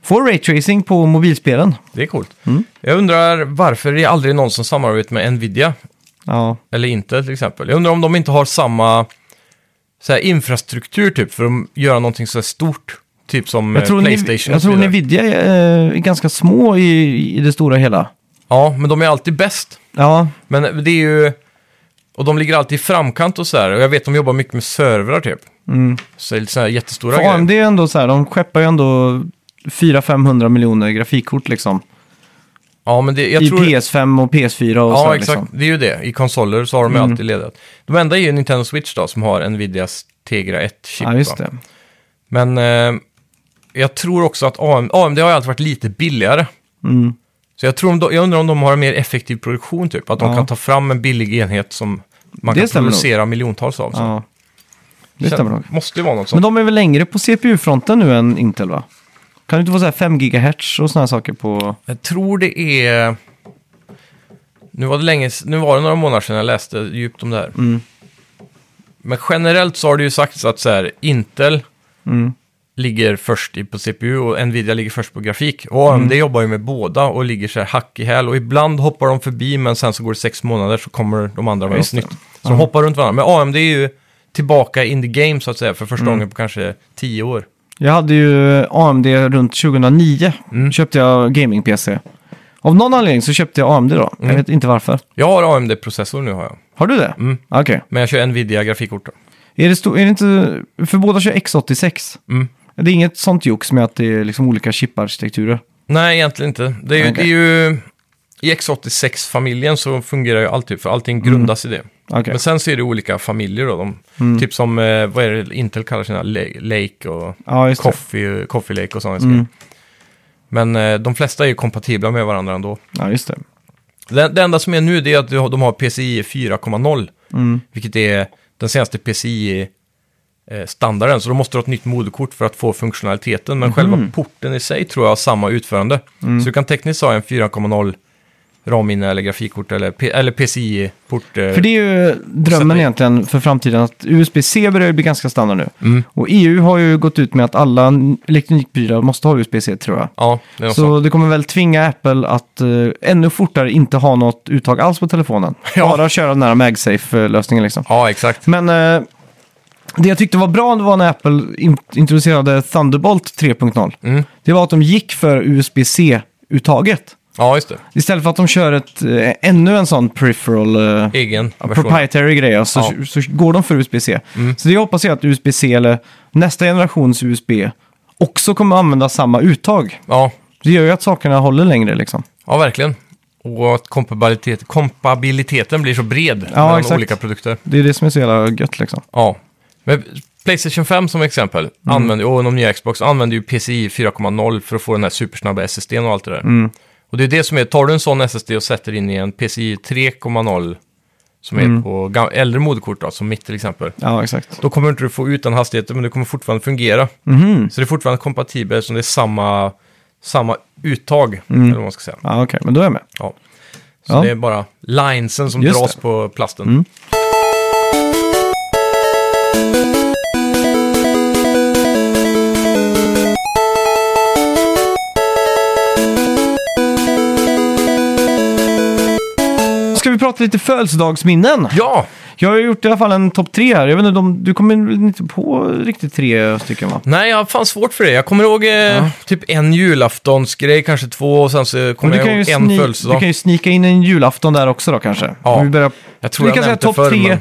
B: får raytracing på mobilspelen.
A: Det är coolt. Jag undrar varför det är aldrig någon som samarbetar med Nvidia.
B: Ja,
A: Eller inte till exempel. Jag undrar om de inte har samma så här, infrastruktur typ för att göra någonting så här stort. Typ som
B: jag
A: eh,
B: tror, ni,
A: Playstation
B: jag
A: och så
B: tror
A: vidare.
B: Nvidia är, eh, är ganska små i, i det stora hela.
A: Ja, men de är alltid bäst.
B: Ja,
A: Men det är ju... Och de ligger alltid i framkant och så här. Och jag vet de jobbar mycket med servrar typ.
B: Mm.
A: Så det är lite så här jättestora
B: för
A: grejer.
B: AMD är ändå så här, de skeppar ju ändå 400-500 miljoner grafikkort liksom.
A: Ja, men det, jag
B: I
A: tror...
B: PS5 och PS4 och så
A: Ja,
B: här,
A: exakt.
B: liksom. Mm.
A: Det är ju det. I konsoler så har de ju alltid ledat. De enda är ju Nintendo Switch då, som har Nvidias Tegra 1-chip.
B: Ja, just det.
A: Men eh, jag tror också att AM, AMD har ju alltid varit lite billigare.
B: Mm.
A: Så jag, tror om de, jag undrar om de har en mer effektiv produktion, typ. Att de
B: Ja.
A: kan ta fram en billig enhet som man
B: Det
A: kan
B: stämmer nog.
A: producera miljontals av. Så.
B: Ja. Det
A: Kän-
B: stämmer nog.
A: Måste ju vara något sånt.
B: Men de är väl längre på CPU-fronten nu än Intel va? Kan du inte få så här 5 GHz och såna här saker på...
A: Jag tror det är... Nu var det, länge, nu var det några månader sedan jag läste djupt om det här.
B: Mm.
A: Men generellt så har det ju sagts att så här, Intel
B: Mm.
A: ligger först i- på CPU och Nvidia ligger först på grafik. Och AMD
B: Mm.
A: jobbar ju med båda och ligger så här hack i häl. Och ibland hoppar de förbi men sen så går det sex månader så kommer de andra med
B: Ja, just
A: något nytt. Så de hoppar runt varandra. Men AMD är ju tillbaka in the game så att säga för
B: Mm.
A: första gången på kanske tio år.
B: Jag hade ju AMD runt 2009.
A: Mm.
B: köpte jag gaming-PC. Av någon anledning så köpte jag AMD då. Jag
A: Mm.
B: vet inte varför.
A: Jag har AMD-processor nu har jag.
B: Har du det?
A: Mm.
B: Okej.
A: Men jag kör Nvidia-grafikkort då.
B: Är det, sto- är det inte... För båda kör X86.
A: Mm.
B: Det är inget sånt jox med att det är liksom olika chiparkitekturer.
A: Nej, egentligen inte. Det är ju,
B: Okej.
A: det är ju i X86-familjen så fungerar ju alltid, för allting grundas i det.
B: Mm. Okej. Mm.
A: Men sen så är det olika familjer då. De, Typ som, eh, vad är det Intel kallar sina, Le- Lake och
B: Ja, just det.
A: Coffee, coffee Lake och sådana
B: Mm.
A: saker. Men eh, de flesta är ju kompatibla med varandra ändå.
B: Ja, just det.
A: Det, det enda som är nu det är att du har- de har PCI 4.0,
B: Mm.
A: vilket är den senaste PCI-standarden. eh, Så då måste du ha ett nytt moderkort för att få funktionaliteten. Men
B: Mhm.
A: själva porten i sig tror jag har samma utförande.
B: Mm.
A: Så du kan tekniskt ha en 4.0 ramminne eller grafikkort eller, P- eller PCI-port. eh,
B: För det är ju drömmen
A: Sätta i-
B: egentligen för framtiden att USB-C börjar ju bli ganska standard nu.
A: Mm.
B: Och EU har ju gått ut med att alla n- elektronikprylar måste ha USB-C tror jag.
A: Ja, det är något sånt.
B: Så det kommer väl tvinga Apple att eh, ännu fortare inte ha något uttag alls på telefonen.
A: Ja.
B: Bara köra den här MagSafe-lösningen liksom.
A: Ja, exakt.
B: Men eh, det jag tyckte var bra det var när Apple in- introducerade Thunderbolt 3.0.
A: Mm.
B: Det var att de gick för USB-C-uttaget.
A: Ja, just det.
B: Istället för att de kör ett, eh, ännu en sån peripheral... Eh,
A: Egen
B: Ja,
A: version.
B: proprietary grejer, så,
A: Ja.
B: så går de för USB-C. Så det jag hoppas är att USB-C eller nästa generations USB också kommer använda samma uttag.
A: Ja,
B: Det gör ju att sakerna håller längre liksom.
A: ja, verkligen. Och att kompabilitet, kompabiliteten blir så bred
B: Ja,
A: mellan
B: exakt.
A: olika produkter.
B: Det är det som är så jävla gött liksom.
A: Ja. Men Playstation 5 som exempel,
B: Mm.
A: använder, och de nya Xbox, använder ju PCI 4.0 för att få den här supersnabba SSD och allt det där.
B: Mm.
A: Och det är det som är, tar du en sån SSD och sätter in i en PCI 3.0 som är
B: Mm.
A: på gam- äldre moderkort då, som mitt till exempel.
B: Ja, exakt.
A: Då kommer inte du få ut den hastigheten, men det kommer fortfarande fungera.
B: Mhm.
A: Så det är fortfarande kompatibelt eftersom det är samma, samma uttag, eller vad man ska säga.
B: Ja, okej, men då är jag med.
A: Ja. Så
B: Mm. Ja.
A: det är bara linesen som
B: Just
A: dras
B: det. Mm.
A: på plasten.
B: Ska vi prata lite födelsedagsminnen?
A: Ja!
B: Jag har ju gjort i alla fall en topp tre här. Jag vet inte, om du kommer väl inte på riktigt tre stycken va?
A: Nej, jag har fan svårt för det. Jag kommer ihåg eh, typ en julaftonsgrej, kanske två, och sen så
B: Men
A: kommer jag ihåg en
B: sni-
A: födelsedag.
B: du kan ju snika in en julafton där också då kanske.
A: Ja.
B: Om Vi, börjar...
A: Jag tror
B: vi
A: jag
B: kan säga
A: nämnt det
B: topp
A: förr,
B: tre
A: men-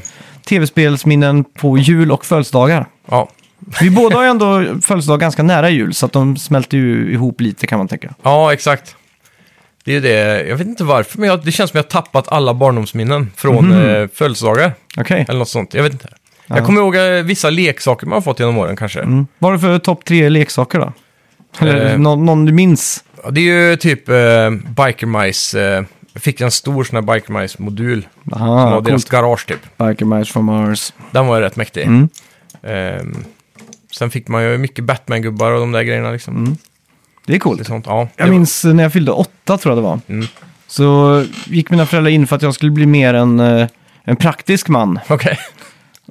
B: tv-spelsminnen på jul och födelsedagar.
A: Ja.
B: Vi båda har ju ändå födelsedag ganska nära jul, så att de smälter ju ihop lite kan man tänka.
A: ja, exakt. Det är ju det. Jag vet inte varför,
B: Mhm.
A: men jag, det känns som jag har tappat alla barndomsminnen från eh, födelsedagar
B: Okej.
A: eller något sånt. Jag vet inte. Jag kommer ihåg eh, vissa leksaker man har fått genom åren kanske.
B: Mm. Vad har du för topp tre leksaker då? Eller
A: Eh.
B: någon, någon du minns?
A: Ja, Det är ju typ eh, Biker Mice. Eh, jag fick en stor sån här Biker Mice-modul. som
B: Aha,
A: var deras
B: coolt.
A: garage typ.
B: Biker Mice from Mars.
A: Den var ju rätt mäktig.
B: Mm.
A: Ehm, sen fick man ju mycket Batman-gubbar och de där grejerna liksom.
B: Mm. Det är
A: Det är
B: coolt.
A: sånt. Ja, det
B: Jag minns när jag fyllde åtta tror jag det var.
A: Mm.
B: Så gick mina föräldrar in för att jag skulle bli mer en, eh, en praktisk man.
A: var- Okej.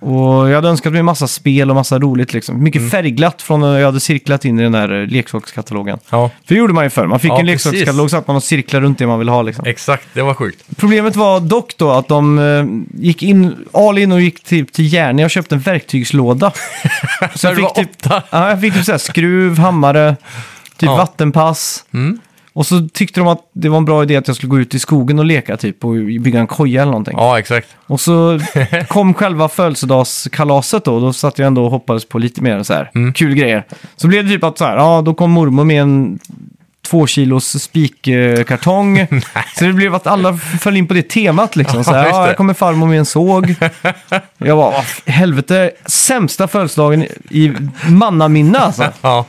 B: Och jag hade önskat mig massa spel och massa roligt liksom. Mycket
A: Mm.
B: färgglatt från när jag hade cirklat in i den där eh, leksakskatalogen.
A: Ja,
B: För det gjorde man ju förr. Man fick
A: Ja,
B: en leksakskatalog så att man och cirklade runt det man ville ha liksom.
A: exakt. Det var sjukt.
B: Problemet var dock då att de eh, gick in, all in och gick typ till Järnia och köpte en verktygslåda. så
A: När du var åtta.
B: ja, jag fick typ så här skruv, hammare, typ
A: Ja.
B: vattenpass.
A: Mm.
B: Och så tyckte de att det var en bra idé att jag skulle gå ut i skogen och leka typ och bygga en koja eller någonting.
A: Ja, exakt.
B: Och så kom själva födelsedagskalaset då, och då satt jag ändå och hoppades på lite mer så här,
A: Mm.
B: kul grejer. Så blev det typ att så här, ja då kom mormor med en två kilos spikkartong. så det blev att alla föll in på det temat liksom. Så
A: Ja,
B: här,
A: just
B: ja,
A: det.
B: här kommer farmor med en såg. jag bara, "Åh, helvete, sämsta födelsedagen i mannaminne alltså.
A: Ja.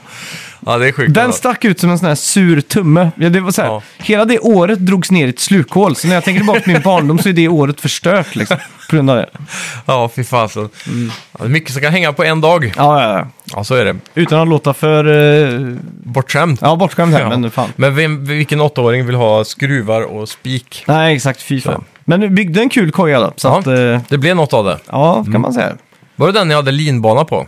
A: ja, det är sjukt. Alltså.
B: Den stack ut som en sån här sur tumme. Ja, det var så här,
A: Ja.
B: Hela det året drogs ner i ett slukhål, så när jag tänker tillbaka på min barndom så är det året förstört liksom, på grund av det.
A: Ja, fy fasen. Ja, det är mycket som kan hänga på en dag.
B: Mm. Ja, ja, ja.
A: Ja, så är det.
B: Utan att låta för... eh,
A: Bortskämt.
B: ja, bortskämd här,
A: Ja.
B: men fan.
A: Men vem, vilken åttaåring vill ha skruvar och spik?
B: Nej, exakt. Fy fan.
A: Så.
B: Men du byggde en kul koja då, så
A: Ja.
B: att... eh,
A: Det blev något av det.
B: ja, kan man säga.
A: Var det den ni hade linbana på?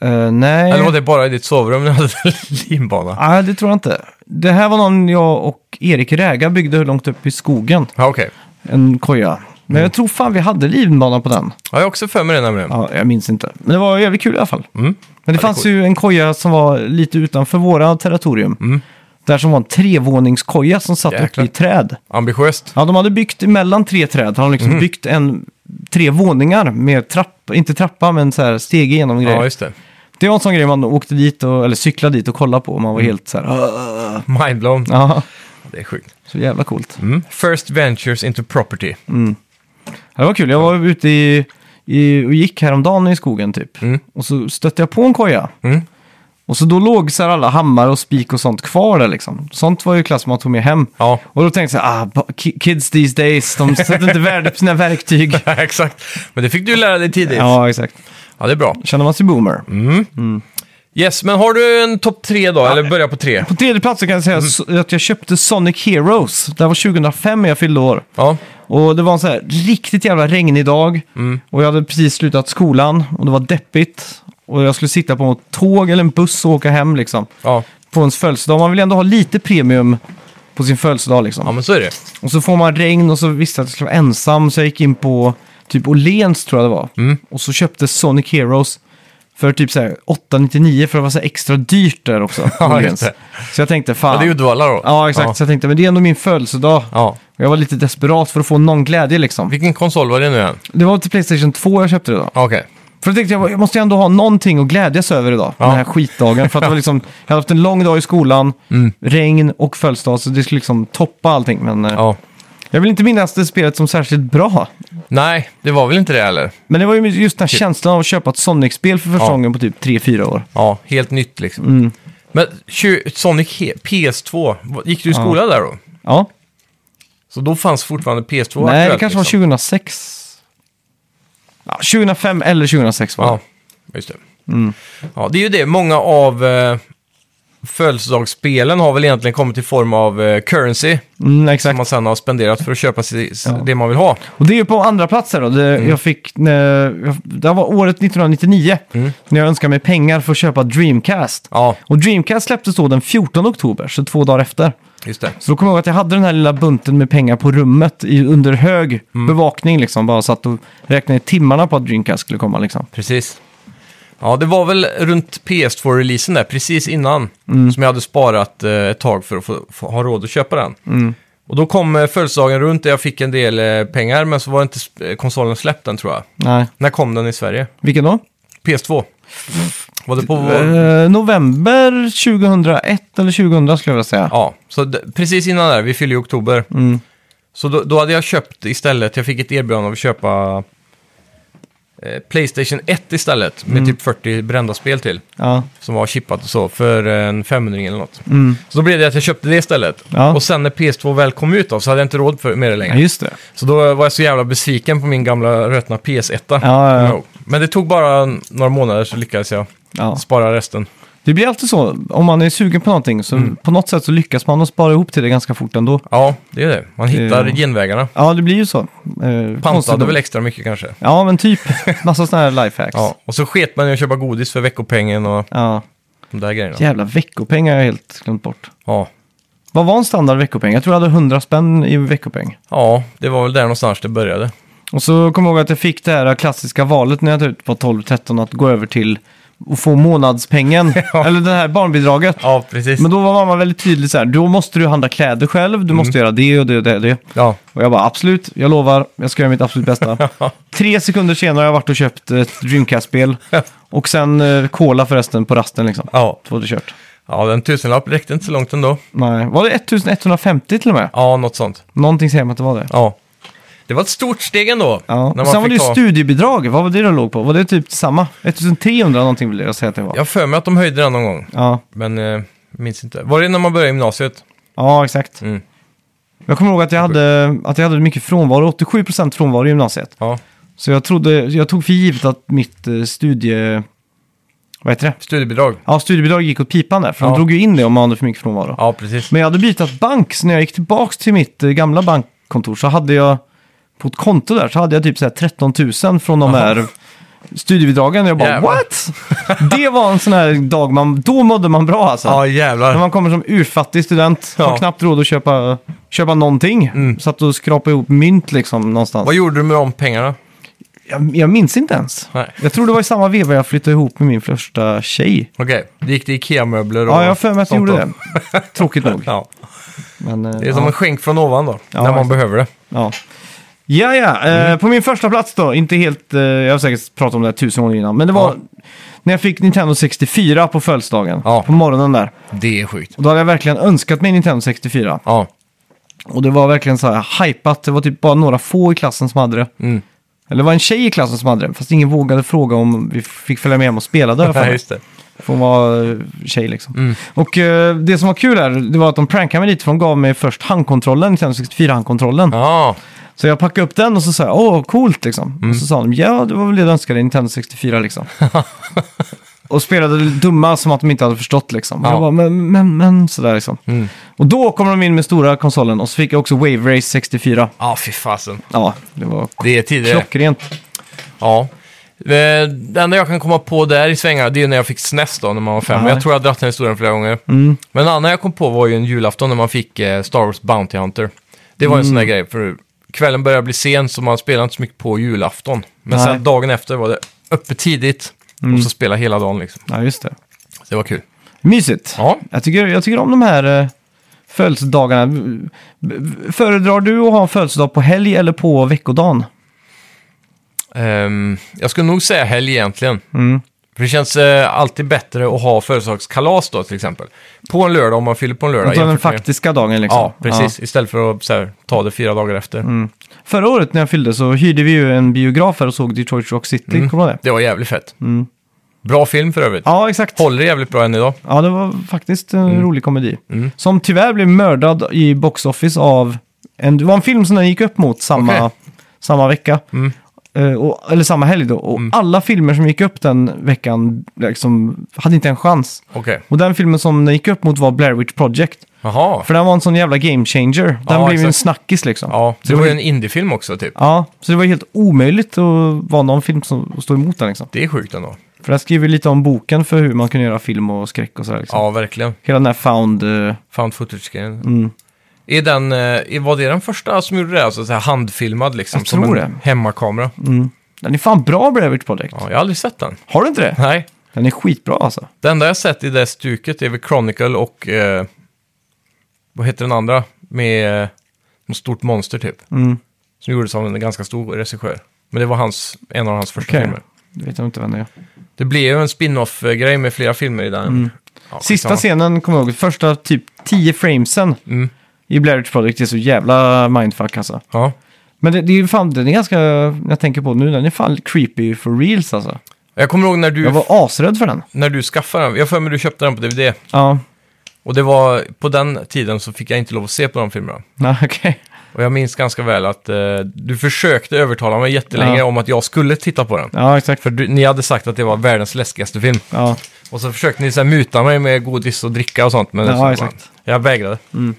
B: Eh, nej...
A: Eller var det bara i ditt sovrum ni hade linbana?
B: Nej, det tror jag inte. Det här var någon jag och Erik Räga byggde långt upp i skogen.
A: Ja, okej.
B: En koja. Men jag tror fan vi hade linbana på den.
A: Ja, jag har också för mig det nämligen.
B: Ja, jag minns inte. Men det var jävligt kul i alla fall.
A: Mm.
B: Men det fanns ju en koja som var lite utanför våra territorium. Där som var en trevåningskoja som satt uppe
A: Jäklar.
B: i träd.
A: Ambitiöst.
B: Ja, de hade byggt mellan tre träd. De hade liksom
A: Mhm.
B: byggt en, tre våningar med trappa, inte trappa, men så här steg igenom grejer.
A: Ja, just det.
B: det var en sån grej man åkte dit, och, eller cyklade dit och kollade på. Och man var
A: Mm.
B: helt så här, "Åh."
A: Mindblown.
B: ja,
A: Det är sjukt.
B: så jävla coolt.
A: Mm. First Ventures into Property.
B: Ja, Det var kul, jag var ute i, i, och gick häromdagen i skogen typ.
A: Mm.
B: Och så stötte jag på en koja.
A: Mm.
B: Och så då låg så här alla hammare och spik och sånt kvar där liksom. Sånt var ju klass man tog med hem.
A: Ja,
B: Och då tänkte jag så här, ah, ba- ki- kids these days, de sätter inte värde på sina verktyg.
A: exakt. Men det fick du lära dig tidigt. Ja,
B: ja, exakt.
A: det är bra.
B: Känner man sig boomer.
A: Yes, men har du en topp tre då? Eller börja på tre?
B: På tredje plats så kan jag säga så- att jag köpte Sonic Heroes. Det här var 2005 när jag fyllde år.
A: Ja.
B: Och det var en så här riktigt jävla regnig dag. Och jag hade precis slutat skolan och det var deppigt. Och jag skulle sitta på ett tåg eller en buss och åka hem liksom.
A: Ja.
B: På ens födelsedag. Man vill ändå ha lite premium på sin födelsedag liksom.
A: ja, men så är det.
B: Och så får man regn och så visste jag att jag skulle vara ensam. Så jag gick in på typ Åhléns tror jag det var.
A: Mm.
B: Och så köpte Sonic Heroes för typ så här 8,99 för det var så här extra dyrt där också. på
A: Ja,
B: Åhléns.
A: just det.
B: Så jag tänkte fan.
A: Ja, det är ju Uddevalla då.
B: Ja, exakt. Så jag tänkte, men det är ändå min födelsedag.
A: Ja.
B: Jag var lite desperat för att få någon glädje liksom.
A: Vilken konsol var det nu igen?
B: Det var till Playstation 2 jag köpte det då.
A: Ja, Okej.
B: För då tänkte jag, jag måste ju ändå ha någonting att glädjas över idag. Den här skitdagen. För att det var liksom, jag hade haft en lång dag i skolan,
A: Mm.
B: regn och födelsedag. Så det skulle liksom toppa allting. Men eh,
A: Ja.
B: jag vill inte minnas det spelet som särskilt bra.
A: Nej, det var väl inte det heller.
B: Men det var ju just den här känslan av att köpa ett Sonic-spel för första
A: Typ. Ja.
B: gången på typ 3-4 år.
A: Ja, helt nytt liksom.
B: Mm.
A: Men tju- Sonic He- PS2, vad- gick du i skola där då?
B: Ja.
A: Så då fanns fortfarande PS2
B: Nej, det
A: aktuellt,
B: kanske var
A: liksom.
B: 2006. Ja, 2005 eller 2006 var det.
A: Ja, just det.
B: Mm.
A: Ja, det är ju det. Många av eh, födelsedagsspelen har väl egentligen kommit i form av eh, currency.
B: Mm,
A: Som
B: exakt.
A: man sen har spenderat för att köpa sig, s- det man vill ha.
B: Och det är ju på andra platser då. Det,
A: Mm.
B: jag fick, när, jag, det här var året 1999 när jag önskade mig pengar för att köpa Dreamcast.
A: Mm. Ja,
B: Och Dreamcast släpptes då den 14 oktober, så två dagar efter.
A: just det.
B: Så då kommer jag ihåg att jag hade den här lilla bunten med pengar på rummet i, under hög
A: Mm.
B: bevakning liksom. Bara satt och räknade timmarna på att Dreamcast skulle komma liksom.
A: Precis. Ja, det var väl runt PS2-releasen där, precis innan,
B: Mm.
A: som jag hade sparat eh, ett tag för att få, få, ha råd att köpa den.
B: Mm.
A: Och då kom eh, födelsedagen runt där jag fick en del eh, pengar, men så var inte s- eh, konsolen släppt den tror jag.
B: Nej,
A: När kom den i Sverige?
B: vilken då?
A: PS2. Var det på...
B: Eh, november 2001 eller 2000 skulle jag vilja säga.
A: Ja, så d- precis innan där, vi fyller ju oktober.
B: Mm.
A: Så då, då hade jag köpt istället, jag fick ett erbjudande av att köpa eh, Playstation 1 istället. Med
B: Mm.
A: typ 40 brända spel till.
B: Ja.
A: Som var chippat och så för en 500 eller något. Så då blev det att jag köpte det istället.
B: Mm. Ja.
A: Och sen när PS2 väl kom ut då, så hade jag inte råd för, med det längre.
B: ja, just det.
A: Så då var jag så jävla besviken på min gamla rötna PS1.
B: ja, ja.
A: Kommer jag ihåg. Men det tog bara n- några månader så lyckades jag
B: Ja.
A: spara resten.
B: Det blir alltid så, om man är sugen på någonting så
A: Mm.
B: på något sätt så lyckas man att spara ihop till det ganska fort ändå.
A: Ja, det är det. Man hittar
B: Det-
A: genvägarna.
B: Ja, det blir ju så. Eh, konstigt
A: Pantade
B: nog.
A: väl extra mycket kanske.
B: Ja, men typ. Massa sådana här lifehacks.
A: Ja, och så sket man i att köpa godis för veckopengen och
B: ja.
A: de där grejerna.
B: Jävla veckopeng har jag helt glömt bort.
A: Ja.
B: Vad var en standard veckopeng? Jag tror jag hade 100 spänn i veckopeng.
A: ja, det var väl där någonstans det började.
B: Och så kom jag ihåg att jag fick det här klassiska valet när jag typ var 12-13 att gå över till att få månadspengen. Eller det här barnbidraget.
A: Ja, precis.
B: Men då var mamma väldigt tydlig så här, då måste du handla kläder själv, du måste göra det och det och det och det.
A: Ja,
B: Och jag bara absolut, jag lovar, jag ska göra mitt absolut bästa. Tre sekunder senare har jag varit och köpt ett Dreamcast-spel. Och sen eh, cola förresten på rasten liksom.
A: ja.
B: Så var det kört.
A: ja den tusenlapp räckte inte så långt ändå.
B: Nej, var det 1150 till och med?
A: Ja, något sånt.
B: Någonting säger mig att det var det.
A: Ja. Det var ett stort steg ändå.
B: Ja.
A: när
B: Och
A: man
B: sen var det
A: fick
B: ju
A: ta-
B: studiebidrag, vad var det det låg på? Var det typ samma? 1300 någonting vill jag säga att det var.
A: Jag har för mig att de höjde den någon gång,
B: Ja,
A: men eh, minns inte. Var det när man började gymnasiet?
B: ja exakt.
A: Mm.
B: Jag kommer ihåg att jag hade, att jag hade mycket frånvaro, 87% frånvaro i gymnasiet.
A: Ja.
B: Så jag, trodde, jag tog för givet att mitt eh, studie... Vad heter det?
A: Studiebidrag?
B: Ja, studiebidrag gick åt pipan där, för
A: Ja.
B: de drog ju in det om man hade för mycket frånvaro.
A: Ja, precis.
B: Men jag hade bytt bank, så när jag gick tillbaka till mitt eh, gamla bankkontor så hade jag på ett konto där så hade jag typ så här 13 000 från de
A: Jaha.
B: här studiebidragen. Jag bara,
A: Jävlar.
B: what? Det var en sån här dag man, då mådde man bra alltså.
A: Ja, jävlar.
B: När man kommer som urfattig student,
A: Ja. Mm.
B: har knappt råd att köpa, köpa någonting. Satt och skrapade ihop mynt liksom någonstans.
A: Vad gjorde du med de pengarna?
B: Jag, jag minns inte ens.
A: Nej.
B: Jag tror det var i samma veva jag flyttade ihop med min första tjej.
A: Okej, det gick till Ikea-möbler och
B: Ja, jag har för mig att jag
A: sånt
B: gjorde
A: då.
B: det. Tråkigt nog.
A: Ja.
B: Men, eh,
A: Det är som
B: ja,
A: en skänk från ovan då,
B: Ja,
A: när man
B: exakt.
A: behöver det.
B: ja. ja, ja. Eh,
A: Mm.
B: På min första plats då, inte helt... Eh, jag har säkert pratat om det här tusen gånger innan, men det var när jag fick Nintendo 64 på födelsedagen.
A: Ja.
B: På morgonen där.
A: Det är sjukt.
B: Och då hade jag verkligen önskat mig Nintendo 64.
A: Ja,
B: Och det var verkligen så här hypat. Det var typ bara några få i klassen som hade det.
A: Mm.
B: Eller det var en tjej i klassen som hade det, fast ingen vågade fråga om vi fick följa med hem och spela där.
A: ja just Mm. det.
B: För hon var eh, tjej liksom. Och eh, det som var kul här, det var att de prankade mig lite för de gav mig först handkontrollen, 64-handkontrollen.
A: Ja,
B: Så jag packade upp den och så sa jag, åh coolt liksom.
A: Mm.
B: Och så sa de, ja det var väl det du önskade, Nintendo 64 liksom. och spelade dumma som att de inte hade förstått liksom. Och
A: Ja. Mm.
B: jag bara, men, men, men, sådär liksom. Och då kom de in med stora konsolen och så fick jag också Wave Race 64.
A: ja fy fasen.
B: Ja, det var
A: Det är tidigare.
B: klockrent.
A: Ja. Eh, Det enda jag kan komma på där i svängarna, det är när jag fick SNES då, när man var fem.
B: Ja.
A: Men Jag tror jag har dragit den historien flera gånger. Men en annan jag kom på var ju en julafton när man fick eh, Star Wars Bounty Hunter. Det var en sån där grej, för kvällen började bli sen så man spelade inte så mycket på julafton. Men
B: Nej.
A: sen dagen efter var det uppe tidigt och så spela hela dagen liksom.
B: Ja, just det.
A: Det var kul.
B: Mysigt.
A: Ja.
B: Jag tycker, jag tycker om de här eh, födelsedagarna. B- b- Föredrar du att ha en födelsedag på helg eller på veckodagen?
A: Ehm, jag skulle nog säga helg egentligen.
B: Mm.
A: För det känns eh, alltid bättre att ha födelsedagskalas då till exempel. På en lördag om man fyller på en lördag.
B: Utan den
A: jämfört med-
B: faktiska dagen liksom. Mm.
A: Ja, precis. Istället för att så här, ta det fyra dagar efter.
B: Ja. Förra året när jag fyllde så hyrde vi ju en biograf här och såg Detroit Rock City.
A: Mm.
B: Kommer du ihåg det?
A: Det var jävligt fett. Bra film för övrigt.
B: Mm. Ja, exakt.
A: Håller jävligt bra än idag.
B: Ja, det var faktiskt en
A: Mm.
B: rolig komedi. Som tyvärr blev mördad i box office av... En, det var en film som den gick upp mot samma,
A: Okej. Mm.
B: samma vecka. Eh, och, eller samma helg då. Och alla filmer som gick upp den veckan liksom, hade inte en chans.
A: Okej.
B: Och den filmen som den gick upp mot var Blair Witch Project.
A: Jaha.
B: För den var en sån jävla game changer. Den
A: Ja,
B: blev ju en
A: exakt.
B: snackis liksom.
A: Ja,
B: Så
A: det var ju en indiefilm också typ.
B: Ja, så det var helt omöjligt att vara någon film som att stå emot den liksom.
A: Det är sjukt ändå.
B: För den skriver lite om boken för hur man kunde göra film och skräck och sådär liksom.
A: Ja, verkligen.
B: Hela den här found... eh, mm,
A: Found footage-grejen. Är den, eh, var det den första som gjorde det? Alltså så här handfilmad liksom?
B: Jag
A: som
B: tror
A: en
B: det.
A: hemmakamera.
B: mm. Den är fan bra, Blair Witch Project.
A: Ja, jag har aldrig sett den.
B: Har du inte det?
A: Nej.
B: Den är skitbra alltså.
A: Det enda jag sett i det stuket är väl Chronicle och... Eh, vad heter den andra? Med eh, något stort monster typ.
B: Mm.
A: Som gjordes av en ganska stor regissör. Men det var hans, en av hans första
B: Okej.
A: filmer.
B: Det vet jag inte vem det är.
A: Det blev ju en spin-off-grej med flera filmer i den. Ja,
B: Mm. Sista
A: skitsamma.
B: scenen kommer jag ihåg. Första typ 10 framesen
A: Mm.
B: i Blair Witch Project är så jävla mindfuck alltså.
A: Ja,
B: Men det, det är ju fan, den är ganska, när jag tänker på det nu, den är fan creepy for reals alltså.
A: Jag kommer ihåg när du,
B: Jag var asrädd för den.
A: när du skaffade den. Jag för mig du köpte den på DVD.
B: Ja,
A: Och det var på den tiden så fick jag inte lov att se på de filmerna.
B: nej okej.
A: Och jag minns ganska väl att eh, du försökte övertala mig jättelänge
B: Ja.
A: om att jag skulle titta på den.
B: Ja, exakt.
A: För du, ni hade sagt att det var världens läskigaste film.
B: Ja,
A: Och så försökte ni så här muta mig med godis och dricka och sånt. Men
B: Ja,
A: så bara-
B: exakt.
A: jag vägrade.
B: men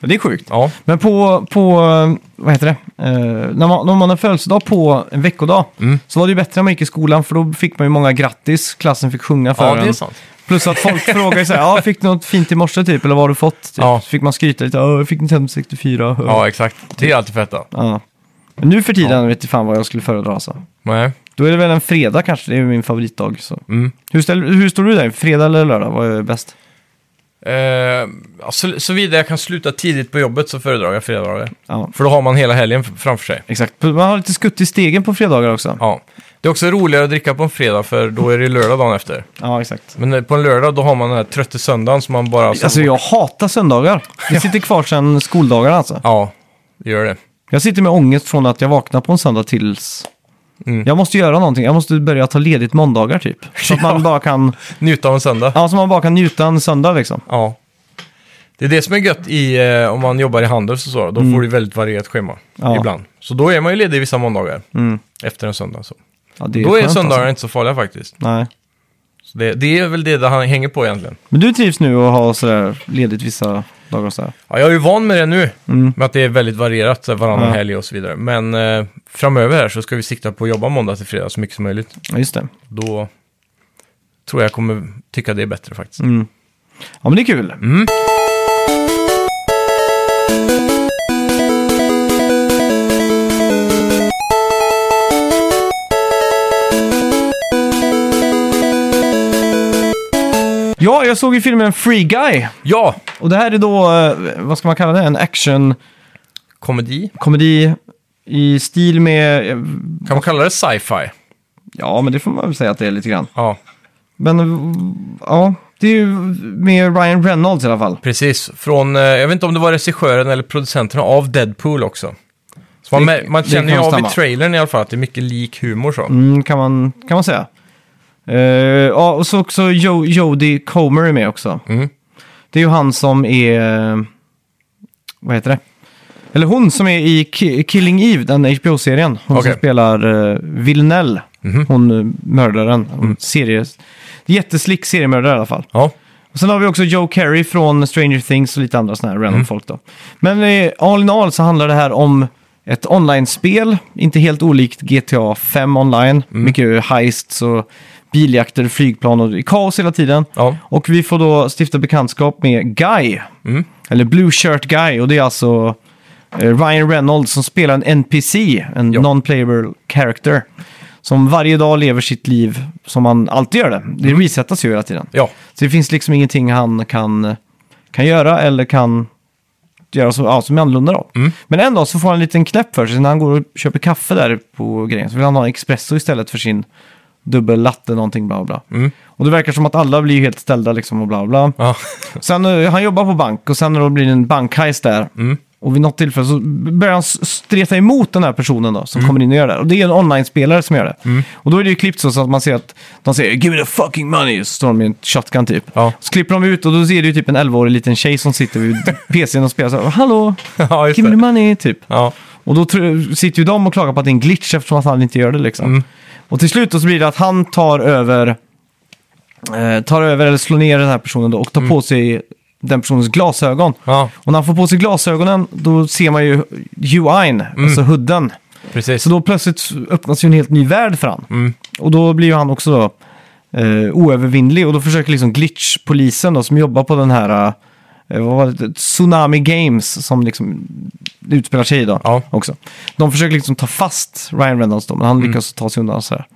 B: det är sjukt.
A: Ja,
B: Men på, på eh, vad heter det, eh, när, man, när man har födelsedag på en veckodag
A: Mm.
B: så var det ju bättre när man gick i skolan för då fick man ju många grattis, klassen fick sjunga för
A: ja det
B: en.
A: är sant.
B: Plus att folk frågar ju så här, ja fick du något fint i morse typ, eller vad har du fått? Typ.
A: Ja.
B: Så fick man skryta lite, ja jag fick Nintendo 64. Ja.
A: Ja, exakt. Det är alltid fett då.
B: Ja. Men nu för tiden vet jag fan vad jag skulle föredra alltså.
A: Nej.
B: Då är det väl en fredag kanske, det är ju min favoritdag. Så.
A: Mm.
B: Hur, ställ, hur står du där? Fredag eller lördag? Vad är bäst?
A: Eh, ja, så, såvida jag kan sluta tidigt på jobbet så föredrar jag fredagar.
B: Ja,
A: För då har man hela helgen f- framför sig.
B: exakt. Man har lite skutt i stegen på fredagar också.
A: Ja. Det är också roligare att dricka på en fredag för då är det lördag dagen efter.
B: ja exakt.
A: Men eh, på en lördag då har man den här trötte söndagen som man bara...
B: Alltså jag hatar söndagar. Det sitter kvar sedan skoldagarna alltså.
A: Ja, det gör det.
B: Jag sitter med ångest från att jag vaknar på en söndag tills...
A: Mm.
B: Jag måste göra någonting. Jag måste börja ta ledigt måndagar typ. Så att man bara kan,
A: Njuta av en söndag.
B: ja, så man bara kan njuta en söndag liksom.
A: Ja. Det är det som är gött i, eh, om man jobbar i handel och så. Då får du väldigt varierat schema
B: Mm. Ja.
A: ibland. Så då är man ju ledig vissa måndagar
B: Mm.
A: efter en söndag. Så.
B: Ja, det
A: då är
B: skönt,
A: söndagar
B: alltså.
A: inte så farliga faktiskt.
B: Nej.
A: Så det, det är väl det det han- hänger på egentligen.
B: Men du trivs nu att ha sådär ledigt vissa dagar och sådär.
A: Ja, jag är ju van med det nu,
B: Mm.
A: med att det är väldigt varierat så här, varannan
B: Ja.
A: helg och så vidare. Men eh, framöver här så ska vi sikta på att jobba måndag till fredag så mycket som möjligt.
B: Ja, just det.
A: Då tror jag kommer tycka det är bättre faktiskt.
B: Mm. Ja, men det är kul.
A: Mm.
B: Ja, jag såg ju filmen Free Guy.
A: Ja,
B: Och det här är då, eh, vad ska man kalla det? En actionkomedi
A: komedi.
B: i stil med, eh,
A: Kan man kalla det sci-fi?
B: ja men det får man väl säga att det är lite grann.
A: Ja,
B: Men ja, det är ju med Ryan Reynolds i alla fall.
A: precis. Från, eh, jag vet inte om det var regissören eller producenterna av Deadpool också. Så man,
B: Det-
A: mär- man
B: det
A: känner ju
B: kan
A: av i
B: stämma.
A: trailern i alla fall att det är mycket lik humor så.
B: Mm, kan, man, kan man säga. Eh, ja, och så också jo- Jodie Comer är med också.
A: Mm.
B: Det är ju han som är... eh, Vad heter det? Eller hon som är i Ki- Killing Eve, den HBO-serien. Hon
A: Okej.
B: som spelar uh, Vilnell.
A: Mhm. Mm.
B: Hon uh, mördaren. Hon Serie, jätteslick seriemördare i alla fall.
A: Ja,
B: Och sen har vi också Joe Carey från Stranger Things och lite andra sådana här random
A: Mm.
B: folk då. Men eh, all in all så handlar det här om ett online-spel, inte helt olikt GTA 5 online.
A: Mm.
B: Mycket heists och biljakter, flygplan och det är kaos hela tiden.
A: ja.
B: Och vi får då stifta bekantskap med Guy,
A: Mm.
B: eller Blue Shirt Guy, och det är alltså eh, Ryan Reynolds som spelar en NPC, en
A: Ja.
B: non-playable character. Som varje dag lever sitt liv som han alltid gör det. Det resetas ju hela tiden.
A: ja.
B: Så det finns liksom ingenting han kan, kan göra eller kan göra som, ja, som är annorlunda då.
A: Mm.
B: Men en dag så får han en liten knäpp för sig. När han går och köper kaffe där på grejen så vill han ha en espresso istället för sin dubbel latte någonting bla bla.
A: Mm.
B: Och det verkar som att alla blir helt ställda liksom och bla bla.
A: ja.
B: Sen, eh, han jobbar på bank och sen när det blir en bankheist där.
A: Mm.
B: Och vid något tillfälle så börjar han s- streta emot den här personen då,
A: Mm.
B: som kommer in och gör det. här. Och det är en online-spelare som gör det. Och då är det ju klippt så, så att man ser att de säger “Give me the fucking money” så står de med en shotgun typ.
A: Ja.
B: Så klipper de ut och då ser du ju typ en 11-årig liten tjej som sitter vid PCn och spelar så här “Hallå,
A: ja, just
B: give me the
A: det.
B: money” typ.
A: Ja.
B: Och då tr- sitter ju de och klagar på att det är en glitch eftersom att han inte gör det liksom.
A: Mm.
B: Och till slut då så blir det att han tar över, eh, tar över eller slår ner den här personen då och tar på sig den personens glasögon.
A: Mm. ja,
B: Och när han får på sig glasögonen då ser man ju UI'n,
A: Mm.
B: alltså hooden.
A: precis.
B: Så då plötsligt öppnas ju en helt ny värld för han.
A: Mm.
B: Och då blir ju han också då, eh, oövervinnlig och då försöker liksom glitch-polisen då, som jobbar på den här eh, vad var det, Tsunami Games som liksom utspelar sig i då
A: Ja.
B: också. De försöker liksom ta fast Ryan Reynolds då, men han
A: Mm.
B: lyckas ta sig undan så här.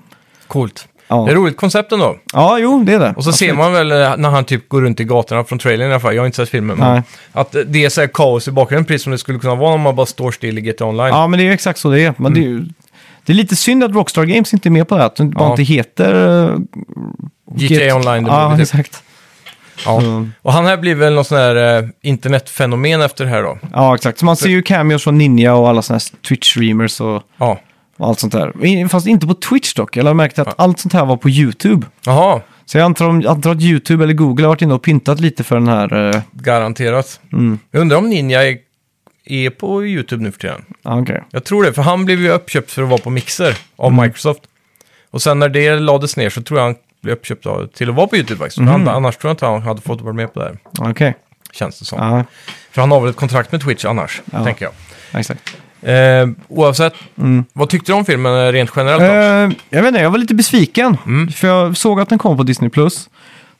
A: Coolt.
B: Ja.
A: Det är roligt koncept ändå.
B: ja, jo, det är det.
A: Och så ser man väl eh, när han typ går runt i gatorna från trailern i alla fall, jag har inte sett filmen, men
B: Nej.
A: att eh, det är så här kaos i bakgrunden precis som det skulle kunna vara om man bara står still i GTA Online.
B: Ja, men det är ju exakt så det är. Men det, är
A: Mm.
B: ju, det är lite synd att Rockstar Games inte är med på det här, att de bara
A: Ja.
B: inte heter... eh,
A: GTA Online, the
B: Ja, Mm.
A: movie, typ.
B: exakt.
A: Ja.
B: Så-
A: Och han här blir väl någon sån här eh, internetfenomen efter det här då.
B: Ja, exakt. Så man ser ju cameos från Ninja och alla såna här Twitch-streamers och,
A: Ja.
B: och allt sånt där. In- Fast inte på Twitch dock. Jag har märkt att allt sånt här var på YouTube.
A: Jaha,
B: Så jag antar, om, antar att YouTube eller Google har varit inne och pyntat lite för den här... eh,
A: garanterat.
B: Mm.
A: Jag undrar om Ninja är, är på YouTube nu för tiden.
B: Ja, okej.
A: Jag tror det, för han blev ju uppköpt för att vara på Mixer av
B: Mm.
A: Microsoft. Och sen när det lades ner så tror jag han blev uppköpt av, till att vara på YouTube
B: Mm.
A: faktiskt. Men han- Annars tror jag inte han hade fått vara med på det här,
B: Okej.
A: känns det som.
B: Ja,
A: För han har väl ett kontrakt med Twitch annars,
B: Ja.
A: tänker jag.
B: exakt.
A: Eh, oavsett, vad tyckte du om filmen eh, rent generellt? då?
B: Mm. Eh, jag vet inte, jag var lite besviken. För jag såg att den kom på Disney+. Plus.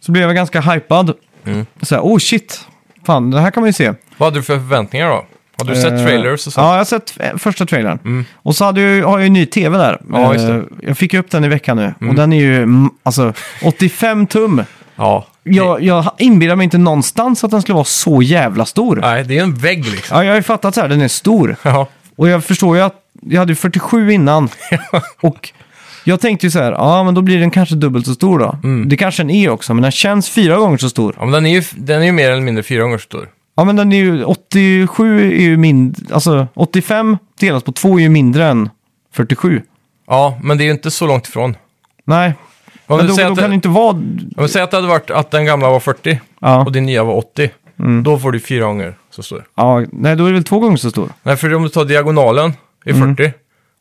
B: Så blev jag ganska hypad.
A: Mm.
B: Så här, oh shit. Fan, det här kan man ju se.
A: Vad hade du för förväntningar då? Hade du sett
B: Eh,
A: trailers och sånt?
B: Ja, jag har sett eh, första trailern. Och så hade jag, har jag ju ny tv där.
A: Ja, just det.
B: Eh, Jag fick ju upp den i veckan nu. Och den är ju mm, alltså, 85 tum.
A: Ja.
B: Jag, jag inbillar mig inte någonstans att den skulle vara så jävla stor.
A: Nej, det är en vägg liksom.
B: Ja, jag har ju fattat så här, den är stor.
A: Ja,
B: Och jag förstår ju att jag hade ju 47 innan. och jag tänkte ju så här, ja men då blir den kanske dubbelt så stor då.
A: Mm.
B: Det kanske den är också, men den känns fyra gånger så stor.
A: ja men den är, ju, den är ju mer eller mindre fyra gånger så stor.
B: Ja men den är ju, 87 är ju mindre, alltså 85 delat på två är ju mindre än 47.
A: Ja, men det är ju inte så långt ifrån.
B: Nej,
A: Om
B: men
A: du
B: då, då
A: säger
B: kan
A: att-
B: det inte vara...
A: Om vi säger att det hade varit att den gamla var 40
B: Ja. Mm.
A: och din nya var 80. Då får du fyra gånger så stor.
B: ja, nej då är det väl två gånger så stor.
A: Nej, för om du tar diagonalen i
B: Mm.
A: 40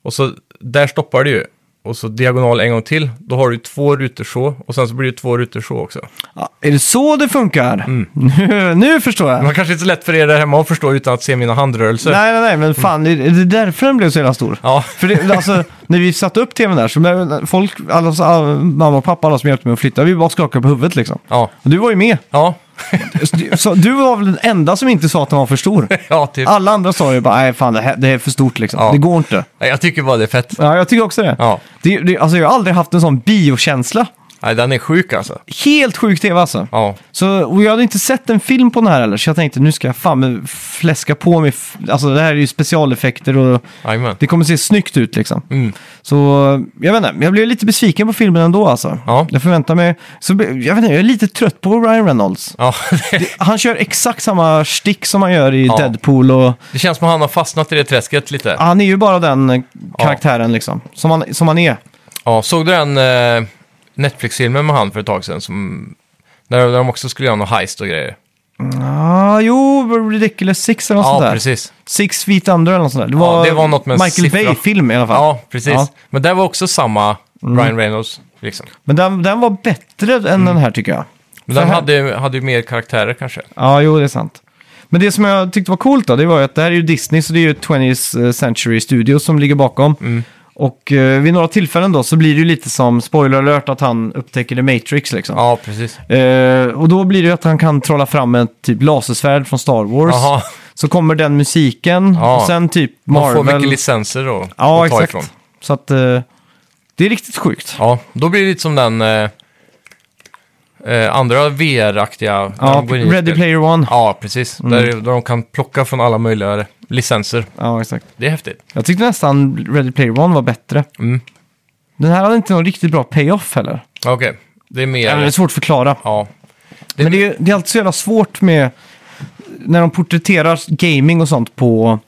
A: och så där stoppar du ju. Och så diagonal en gång till. Då har du ju två rutor så och sen så blir det två rutor så också.
B: Ja, är det så det funkar?
A: Mm.
B: Nu, nu förstår jag.
A: Men kanske inte så lätt för er där hemma att förstå utan att se mina handrörelser.
B: Nej, nej, nej, men fan, är är det därför den blev så jävla stor?
A: Ja,
B: För det, alltså, när vi satte upp tvn där, så blev folk, alla, alla, mamma och pappa, alla som hjälpte mig att flytta, vi bara skakade på huvudet liksom.
A: ja,
B: Och du var ju med.
A: ja,
B: Så du- Så, du var väl den enda som inte sa att den var för stor.
A: ja, typ.
B: Alla andra sa ju bara, nej fan det, här, det är för stort liksom.
A: Ja.
B: Det går inte.
A: Nej, Jag tycker bara det är fett.
B: Ja, jag tycker också det.
A: Ja.
B: det, det alltså, jag har aldrig haft en sån biokänsla.
A: Nej, den är sjuk alltså.
B: Helt sjuk tv alltså.
A: Ja,
B: Så, och jag hade inte sett en film på den här heller, så jag tänkte nu ska jag fan fläska på mig. f- Alltså det här är ju specialeffekter och
A: jajamän.
B: det kommer se snyggt ut liksom.
A: Mm.
B: Så jag vet inte, jag blev lite besviken på filmen ändå alltså.
A: Ja.
B: Jag förväntar mig, så, jag vet inte, jag är lite trött på Ryan Reynolds.
A: Ja, det,
B: Han kör exakt samma stick som han gör i
A: Ja.
B: Deadpool och
A: det känns som att han har fastnat i det träsket lite.
B: han är ju bara den eh,
A: Ja.
B: karaktären liksom, som han, som han är.
A: Ja, såg du den eh, Netflix-filmen med han för ett tag sedan? Som, där, där de också skulle göra någon heist och grejer.
B: Ah, jo, Ridiculous Six eller något sånt
A: Ja,
B: där.
A: precis.
B: Six Feet Under eller något sånt där. Det
A: Ja,
B: var,
A: det var något med en
B: Michael
A: siffra.
B: Bay-film i alla fall.
A: Ja, precis.
B: Ja. Mm.
A: Men där var också samma Ryan Reynolds. Liksom.
B: Men den, den var bättre än
A: Mm.
B: den här tycker jag.
A: Men
B: För
A: den
B: här-
A: hade, hade ju mer karaktärer kanske.
B: Ja, jo, det är sant. Men det som jag tyckte var coolt då, det var ju att det här är ju Disney, så det är ju 20th Century Studios som ligger bakom.
A: Mm.
B: Och eh, vid några tillfällen då så blir det ju lite som, spoiler alert, att han upptäcker The Matrix liksom.
A: Ja, precis.
B: Eh, och då blir det ju att han kan trolla fram ett typ lasersvärd från Star Wars.
A: Jaha,
B: Så kommer den musiken
A: Ja.
B: och sen typ
A: man får mycket
B: Marvel.
A: licenser då, att
B: Ja,
A: ta
B: exakt.
A: ifrån.
B: Så att eh, det är riktigt sjukt.
A: Ja, då blir det lite som den eh, eh, andra VR-aktiga. när
B: Ja,
A: de går in i
B: Ready
A: spel.
B: Player One. Mm.
A: Ja, precis. Där, där de kan plocka från alla möjliga licenser.
B: Ja, exakt.
A: Det är häftigt.
B: Jag tyckte nästan Ready Player One var bättre.
A: Mm.
B: Den här hade inte någon riktigt bra payoff heller.
A: Okej, det är mer...
B: Ja, det är svårt att förklara.
A: Ja. Det-
B: Men det är, det är alltid så jävla svårt med när de porträtterar gaming och sånt på,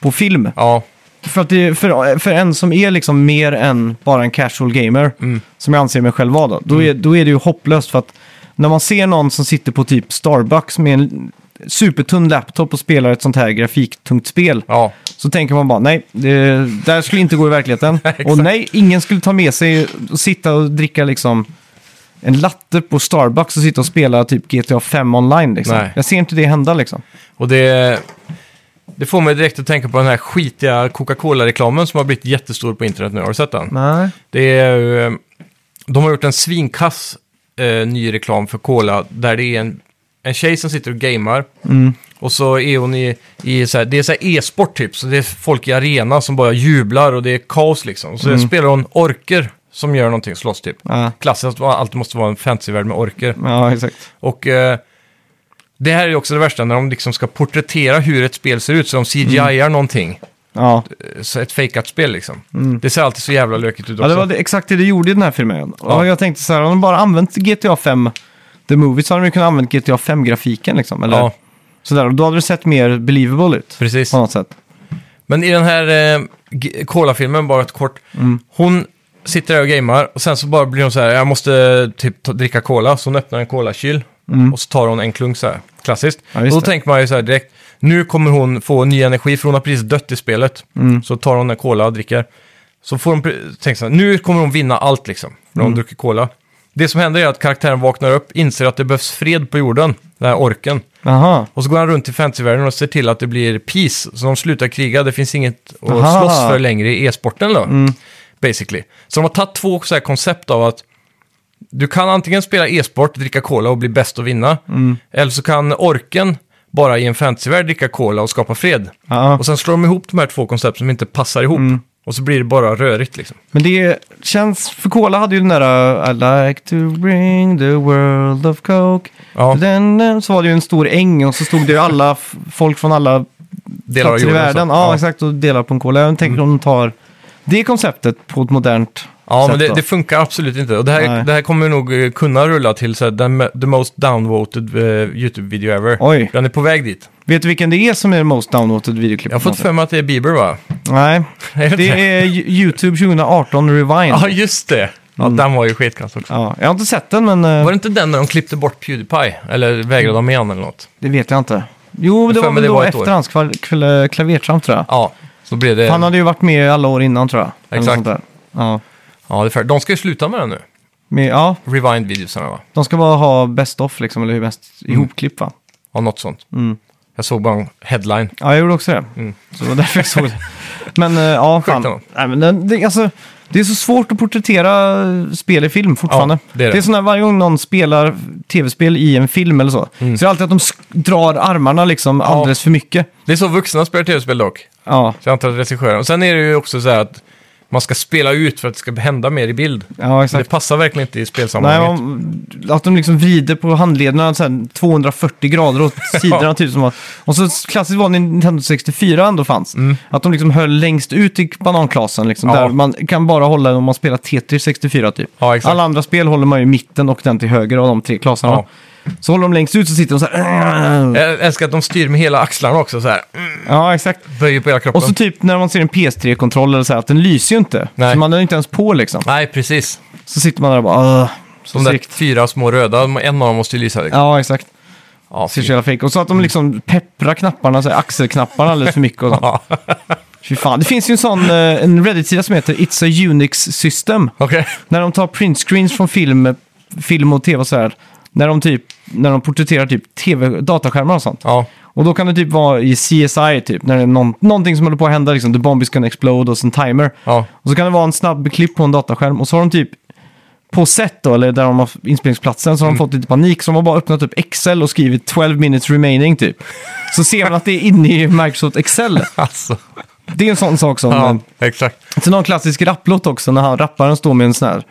B: på film.
A: Ja,
B: För, att det, för, för en som är liksom mer än bara en casual gamer,
A: Mm.
B: som jag anser mig själv vara då, då, är, då är det ju hopplöst. För att när man ser någon som sitter på typ Starbucks med en supertunn laptop och spelar ett sånt här grafiktungt spel,
A: ja,
B: så tänker man bara nej, det där skulle inte gå i verkligheten. och nej, ingen skulle ta med sig och sitta och dricka liksom en latte på Starbucks och sitta och spela typ GTA 5 online. Liksom.
A: Nej.
B: Jag ser inte det hända liksom.
A: och det... Det får mig direkt att tänka på den här skitiga Coca-Cola-reklamen som har blivit jättestor på internet nu. Har du sett den?
B: Nej.
A: Det är, ju, eh, de har gjort en svinkass eh, ny reklam för Cola där det är en, en tjej som sitter och gamar. Och så är hon i, i så här, det är så här e-sport typ, så det är folk i arena som bara jublar och det är kaos liksom. Så spelar hon orker som gör någonting, slåss typ.
B: Ja.
A: Klassiskt, va- allt måste vara en fantasyvärld med orker.
B: ja, exakt.
A: Och eh, det här är ju också det värsta, när de liksom ska porträttera hur ett spel ser ut, så de CGI-ar någonting.
B: Ja.
A: Eh, Så ett fejkat spel liksom. Det ser alltid så jävla lökigt ut också.
B: ja, det var det, exakt det du gjorde i den här filmen.
A: Ja.
B: Och jag tänkte så här, om de bara använt GTA 5 The Movie så hade de ju kunnat använda GTA 5-grafiken liksom. Eller
A: Ja,
B: sådär. Och då hade det sett mer believable ut.
A: precis.
B: På något sätt.
A: Men i den här eh, G- Cola-filmen, bara ett kort.
B: Mm.
A: Hon sitter där och gamer och sen så bara blir hon så här, jag måste eh, typ ta, dricka cola. Så hon öppnar en colakyl och så tar hon en klunk så här, klassiskt.
B: Mm. Ja,
A: och
B: just
A: då
B: det.
A: tänker man ju så här direkt, nu kommer hon få ny energi för hon har precis dött i spelet.
B: Mm.
A: Så tar hon en cola och dricker. Så får hon pre- tänka så här, nu kommer hon vinna allt liksom, när
B: Mm.
A: hon dricker cola. Det som händer är att karaktären vaknar upp, inser att det behövs fred på jorden, den här orken.
B: Jaha.
A: Och så går han runt i fantasyvärlden och ser till att det blir peace. Så de slutar kriga, det finns inget att
B: Aha. Mm.
A: slåss för längre i e-sporten då. Basically. Så de har tagit två så här koncept av att du kan antingen spela e-sport, dricka cola och bli bäst och vinna.
B: Mm.
A: Eller så kan orken bara i en fantasyvärld dricka cola och skapa fred.
B: Ja.
A: Och sen slår de ihop de här två koncept som inte passar ihop.
B: Mm.
A: Och så blir det bara rörigt liksom.
B: Men det känns... För Cola hade ju den där... uh, I like to bring the world of Coke.
A: Ja,
B: Den, eh, så var det ju en stor äng och så stod det ju alla f- folk från alla
A: delar
B: platser
A: av
B: i
A: jorden. och så. Mm.
B: världen. Ja, exakt. Och delar på en cola. Jag tänker om de tar det konceptet på ett modernt
A: Ja,
B: sätt.
A: men det,
B: då.
A: det funkar absolut inte. Och det, här,
B: Nej.
A: det här kommer nog eh, kunna rulla till så här, the, the most downvoted eh, YouTube-video ever.
B: Oj,
A: Den är på väg dit.
B: vet du vilken det är som är den most downloaded videoklipp?
A: Jag har fått för mig att det är Bieber, va?
B: Nej,
A: Är det
B: det
A: inte?
B: är Ju- YouTube 2018 Rewind.
A: Ja, just det. Ja,
B: Mm.
A: den var ju skitkass också.
B: Ja, jag har inte sett den, men eh,
A: Var det inte den när de klippte bort Pewdiepie? Eller vägrade de igen eller något?
B: det vet jag inte. Jo, det
A: för
B: var
A: mig
B: väl
A: det
B: då
A: var ett år.
B: efter hans kval- kla- klavertramp tror jag.
A: Ja, så blev det...
B: Han hade ju varit med alla år innan tror jag. Eller
A: Exakt.
B: sånt där. Ja.
A: Ja, det är färdigt. De ska ju sluta med den nu.
B: Men, ja,
A: Rewind-videosarna, va?
B: de ska bara ha best off liksom, eller hur bäst
A: Mm.
B: ihopklipp va?
A: Ja, något sånt.
B: Mm.
A: Jag såg bara en headline.
B: Ja, jag gjorde också det.
A: Mm.
B: Så det var därför jag såg det. Men eh, ja,
A: ändå.
B: fan. Nej, men den, det, alltså, det är så svårt att porträttera eh, spel i film fortfarande.
A: Ja, det är det.
B: är sån här varje gång någon spelar tv-spel i en film eller så.
A: Mm.
B: Så det är alltid att de sk- drar armarna liksom alldeles för mycket.
A: Det är så vuxna spelar tv-spel dock.
B: Ja,
A: Så jag antar att regissören... Och sen är det ju också så här att man ska spela ut för att det ska hända mer i bild.
B: ja
A: Det
B: exakt.
A: passar verkligen inte i
B: Nej,
A: spelsammanhanget.
B: man, att de liksom vrider på handlederna så här 240 grader åt sidorna. typ som att, och så klassiskt var när Nintendo 64 ändå fanns. Att de liksom höll längst ut i bananklasen. Liksom,
A: Mm. Ja.
B: där man kan bara hålla den om man spelar Tetris 64 typ.
A: Ja, exakt.
B: Alla andra spel håller man ju i mitten och den till höger av de tre klasarna.
A: Ja.
B: Så håller de längst ut så sitter de så här.
A: Jag älskar att de styr med hela axlarna också så här. Mm,
B: Ja, exakt.
A: Böjer på hela kroppen.
B: Och så typ när man ser en PS3-kontroll eller så här, att den lyser ju inte.
A: Nej.
B: Så man är inte ens på liksom.
A: Nej, precis.
B: Så sitter man där och bara... "Ugh." Så
A: De där
B: segt.
A: fyra små röda, en av dem måste ju lysa. liksom.
B: Ja, exakt.
A: Ja,
B: Ser
A: fy.
B: så jävla fake. Och så att
A: Mm.
B: de liksom pepprar knapparna, så här, axelknapparna alldeles för mycket och sånt.
A: Ja.
B: Fy fan. Det finns ju en sån eh, en Reddit-sida som heter It's a Unix System.
A: Okej.
B: När de tar printscreens från film, film och tv och så här. När de, typ, när de porträtterar typ TV, dataskärmar och sånt.
A: Ja.
B: Och då kan det typ vara i CSI, typ, när det är någon, någonting som håller på att hända, liksom, the bomb is gonna explode och så en timer.
A: Ja.
B: Och så kan det vara en snabb klipp på en dataskärm och så har de typ på set då, eller där de har inspelningsplatsen, så
A: Mm.
B: har de fått lite panik. Så de har bara öppnat upp Excel och skrivit 12 minutes remaining typ. Så ser man att det är inne i Microsoft Excel.
A: Alltså.
B: Det är en sån sak som...
A: Ja, exakt.
B: Sen har en klassisk rapplåt också när han, rapparen står med en sån här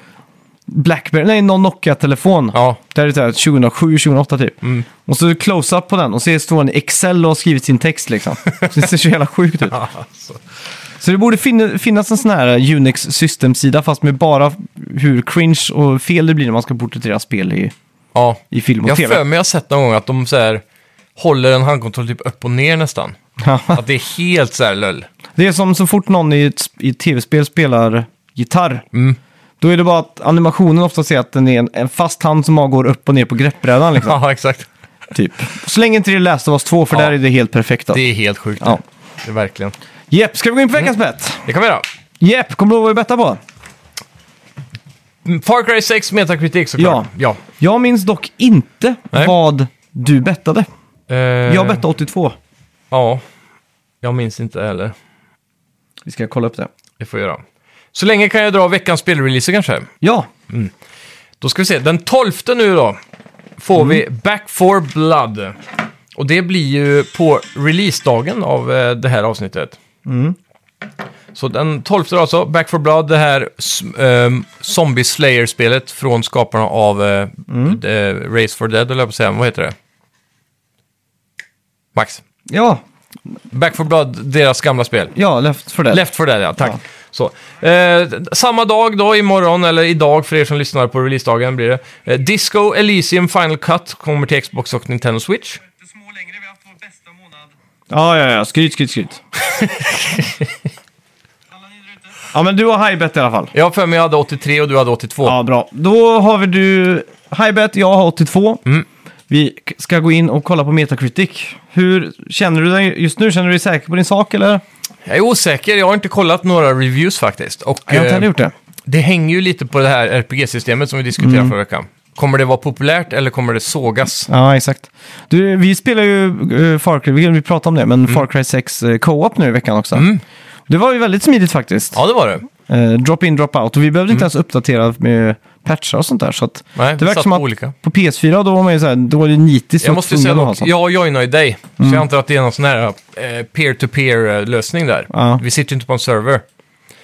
B: Blackberry, nej någon Nokia-telefon.
A: Ja. Mm.
B: Där det är 2007-2008 typ. Och så close-up på den och så står han i Excel och har skrivit sin text liksom. Så det ser så jävla sjukt ut.
A: Alltså.
B: Så det borde fin- finnas en sån här Unix systemsida fast med bara hur cringe och fel det blir när man ska porträttera spel i,
A: Ja.
B: i film och
A: Jag har
B: tv.
A: för mig jag har sett någon gång att de så här, håller en handkontroll typ upp och ner nästan. Att det är helt så här löll.
B: Det är som så fort någon i ett, sp- i ett tv-spel spelar gitarr.
A: Mm.
B: Då är det bara att animationen ofta ser att den är en, en fast hand som bara går upp och ner på greppbrädan. Liksom.
A: Ja, exakt.
B: Typ. Så länge inte det är Last of Us 2, för
A: Ja.
B: där är det helt perfekt.
A: Det
B: Alltså.
A: är helt sjukt.
B: Ja.
A: Det Mm. är verkligen.
B: Jepp, ska vi gå in på veckans bett?
A: Det kan vi göra.
B: Jepp, kommer du ihåg vad vi bettade på?
A: Mm, Far Cry 6 metakritik såklart. Ja.
B: Jag minns dock inte
A: Nej.
B: vad du bettade.
A: Eh,
B: Jag bettade 82.
A: Ja. Jag minns inte heller.
B: Vi ska kolla upp det.
A: Det får jag göra. Så länge kan jag dra veckans spelreleaser kanske.
B: Ja,
A: Då ska vi se, den 12 nu då får vi Back for Blood. Och det blir ju på releasedagen av eh, det här avsnittet. Så den 12 då alltså, Back for Blood, det här s- ehm, Zombie Slayer-spelet från skaparna av eh, eh, Race for Dead, eller jag på att säga, vad heter det? Max.
B: ja,
A: Back for Blood, deras gamla spel.
B: ja, left för det.
A: Left for Dead, ja. Tack.
B: Ja.
A: Så. Eh, samma dag då, imorgon, eller idag för er som lyssnar på releasedagen blir det. Eh, Disco Elysium Final Cut kommer till Xbox och Nintendo Switch.
D: inte små längre. Vi har haft vår bästa månad.
B: Ja, ja, ja. Skryt, skryt, skryt.
D: Alla ni där ute.
B: Ja, men du har highbet i alla fall.
A: Jag har för mig jag hade 83 och du hade 82.
B: Ja, bra. Då har vi du highbet, jag har 82.
A: Mm.
B: Vi k- ska gå in och kolla på Metacritic. Hur känner du dig just nu? Känner du dig säker på din sak eller?
A: Jag är osäker, jag har inte kollat några reviews faktiskt. Och,
B: Jag har inte
A: eh,
B: heller gjort det.
A: Det hänger ju lite på det här RPG-systemet som vi diskuterade
B: Mm.
A: förra veckan. Kommer det vara populärt eller kommer det sågas?
B: Ja, exakt. Du, vi spelar ju eh, Far Cry, vi vi pratade om det,
A: Mm.
B: men Far Cry 6 eh, co-op nu i veckan också. Det var ju väldigt smidigt faktiskt.
A: Ja, det var det.
B: Eh, drop in, drop out. Och vi behövde inte ens uppdatera med patchar och sånt där. Så att
A: Nej,
B: det
A: vi
B: verkar
A: satt
B: som
A: på
B: att
A: olika.
B: på PS4 då var man ju så alltså. här, då var det nitiskt.
A: Jag
B: och
A: måste ju
B: tvungen
A: säga
B: att ha
A: dock,
B: sånt.
A: jag joinar ju dig.
B: Mm.
A: Så jag antar att det är någon sån här eh, peer-to-peer-lösning där.
B: Ja.
A: Vi sitter ju inte på en server.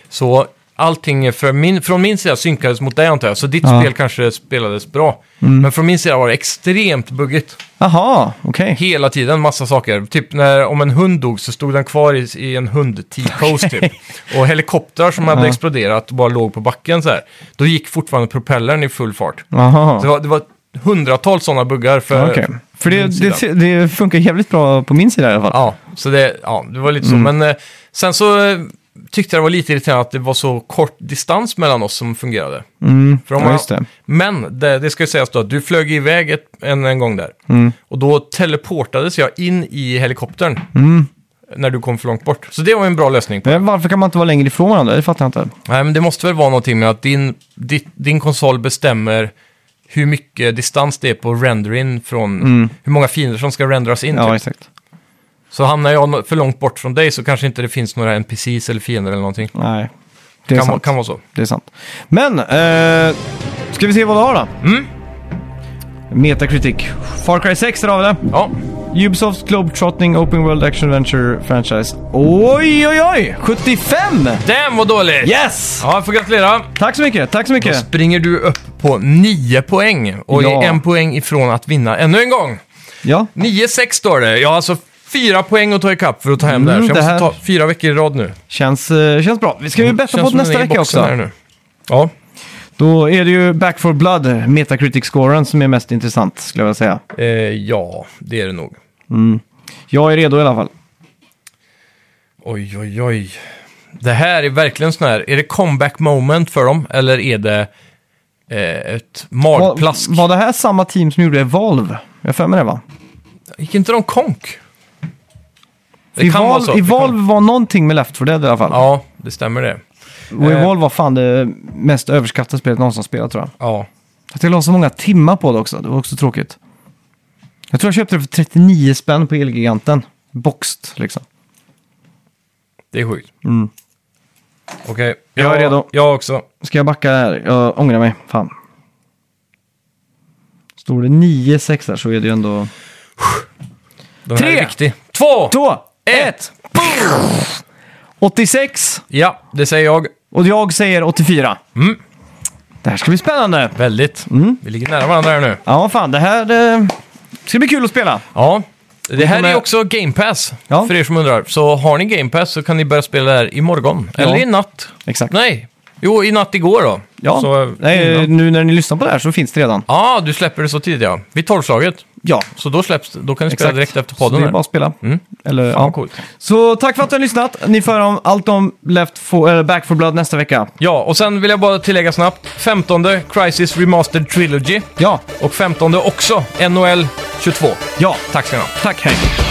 A: Så allting från min, från min sida synkades mot dig antar jag. Så ditt
B: Ja. Mm.
A: spel kanske spelades bra. Men från min sida var det extremt buggigt.
B: Jaha, okej.
A: Hela tiden, massa saker. Typ när, om en hund dog så stod den kvar i, i en hund-t-pose typ. Och helikoptrar som hade
B: Ja.
A: exploderat och bara låg på backen så här. Då gick fortfarande propellern i full fart. Så det,
B: Jaha.
A: var, det var hundratals sådana buggar för...
B: Okej. För det,
A: min sida.
B: det, det funkar jävligt bra på min sida i alla fall.
A: Ja, så det, ja, det var lite så.
B: Mm.
A: Men eh, sen så eh, tyckte jag det var lite irriterande att det var så kort distans mellan oss som fungerade.
B: Mm.
A: För om
B: ja,
A: man-
B: just det.
A: Men det, det ska ju sägas då att du flög iväg ett, en, en gång där.
B: Mm.
A: Och då teleportades jag in i helikoptern.
B: Mm.
A: När du kom för långt bort. Så det var en bra lösning. På.
B: Men varför kan man inte vara längre ifrån varandra? Det fattar jag inte.
A: Nej, men det måste väl vara någonting med att din, ditt, din konsol bestämmer hur mycket distans det är på rendering från hur många fiender som ska renderas in.
B: Mm. Ja,
A: typ.
B: exakt.
A: Så hamnar jag nå- för långt bort från dig så kanske inte det finns några NPCs eller fiender eller någonting.
B: Nej, det är
A: kan, vara-
B: sant.
A: kan vara så.
B: Det är sant. Men, eh, ska vi se vad du har då?
A: Mm.
B: Metacritic. Far Cry 6, där har vi det.
A: Ja,
B: Ubisofts Globetrotting Open World Action Adventure Franchise. Oj, oj, oj! 75!
A: damn vad dåligt!
B: Yes!
A: Ja, jag får gratulera.
B: Tack så mycket, tack så
A: Då
B: mycket.
A: springer du upp på 9 poäng och
B: Ja.
A: är en poäng ifrån att vinna ännu en gång.
B: Ja,
A: 9-6 står det. Jag har alltså fyra poäng att ta ikapp för att ta hem det här.
B: Mm,
A: Så jag
B: det
A: måste
B: här-
A: ta fyra veckor i rad nu.
B: känns, eh, känns bra. Vi ska ju betta
A: Mm. Känns
B: på
A: som
B: nästa
A: den är i
B: vecka
A: boxen här
B: också.
A: nu. Ja,
B: Då är det ju Back for Blood, Metacritic-scoren, som är mest intressant skulle jag vilja säga.
A: eh, ja, det är det nog.
B: Jag är redo i alla fall.
A: Oj, oj, oj. Det här är verkligen sån här, är det comeback moment för dem eller är det eh, ett
B: Var,
A: magplask?
B: var det här samma team som gjorde Evolve? Jag har för mig det va?
A: Gick inte de konk? Det
B: I
A: kan vara
B: Valve,
A: så.
B: i
A: Det kan-
B: Valve var någonting med Left 4 Dead i alla fall.
A: Ja, det stämmer det.
B: Och
A: eh.
B: Evolve var fan det mest överskattade spelet någonsin spelat tror jag.
A: Ja.
B: Att jag la så många timmar på det också, det var också tråkigt. Jag tror jag köpte det för 39 spänn på Elgiganten. Boxed liksom.
A: Det är sjukt.
B: Mm.
A: Okej.
B: Jag är
A: Ja,
B: redo.
A: Jag också.
B: Ska jag backa här? Jag ångrar mig. Fan. Står det 9-6 där så är det ju ändå...
A: Den här
B: Tre,
A: är viktig. Två!
B: 2,
A: ett!
B: 86
A: Ja, det säger jag.
B: och jag säger 84.
A: Mm.
B: Det här ska bli spännande.
A: Väldigt.
B: Mm.
A: Vi ligger nära varandra här nu.
B: Ja, fan det här eh, ska bli kul att spela.
A: Ja. Det här
B: kommer-
A: är också Game Pass,
B: Ja.
A: för er som undrar. Så har ni Game Pass så kan ni börja spela det här imorgon. Eller
B: Ja.
A: i natt.
B: Exakt.
A: Nej. Jo, i natt igår då.
B: Ja,
A: Så,
B: Nej, eh,
A: innan.
B: nu när ni lyssnar på det här så finns det redan.
A: Ja, du släpper det så tidigt ja. Vid tolvslaget.
B: Ja,
A: Så då släpps det. Då kan du spela
B: exakt.
A: direkt efter
B: Så
A: podden.
B: det är
A: här.
B: bara att spela.
A: Mm.
B: Eller,
A: Fan,
B: ja.
A: coolt.
B: Så tack för att ni har lyssnat. Ni får höra om allt om Left for, eller Back for Blood nästa vecka.
A: Ja, och sen vill jag bara tillägga snabbt. 15 Crisis Remastered Trilogy.
B: Ja,
A: Och 15 också NHL 22.
B: ja.
A: Tack ska ni ha.
B: Tack, hej.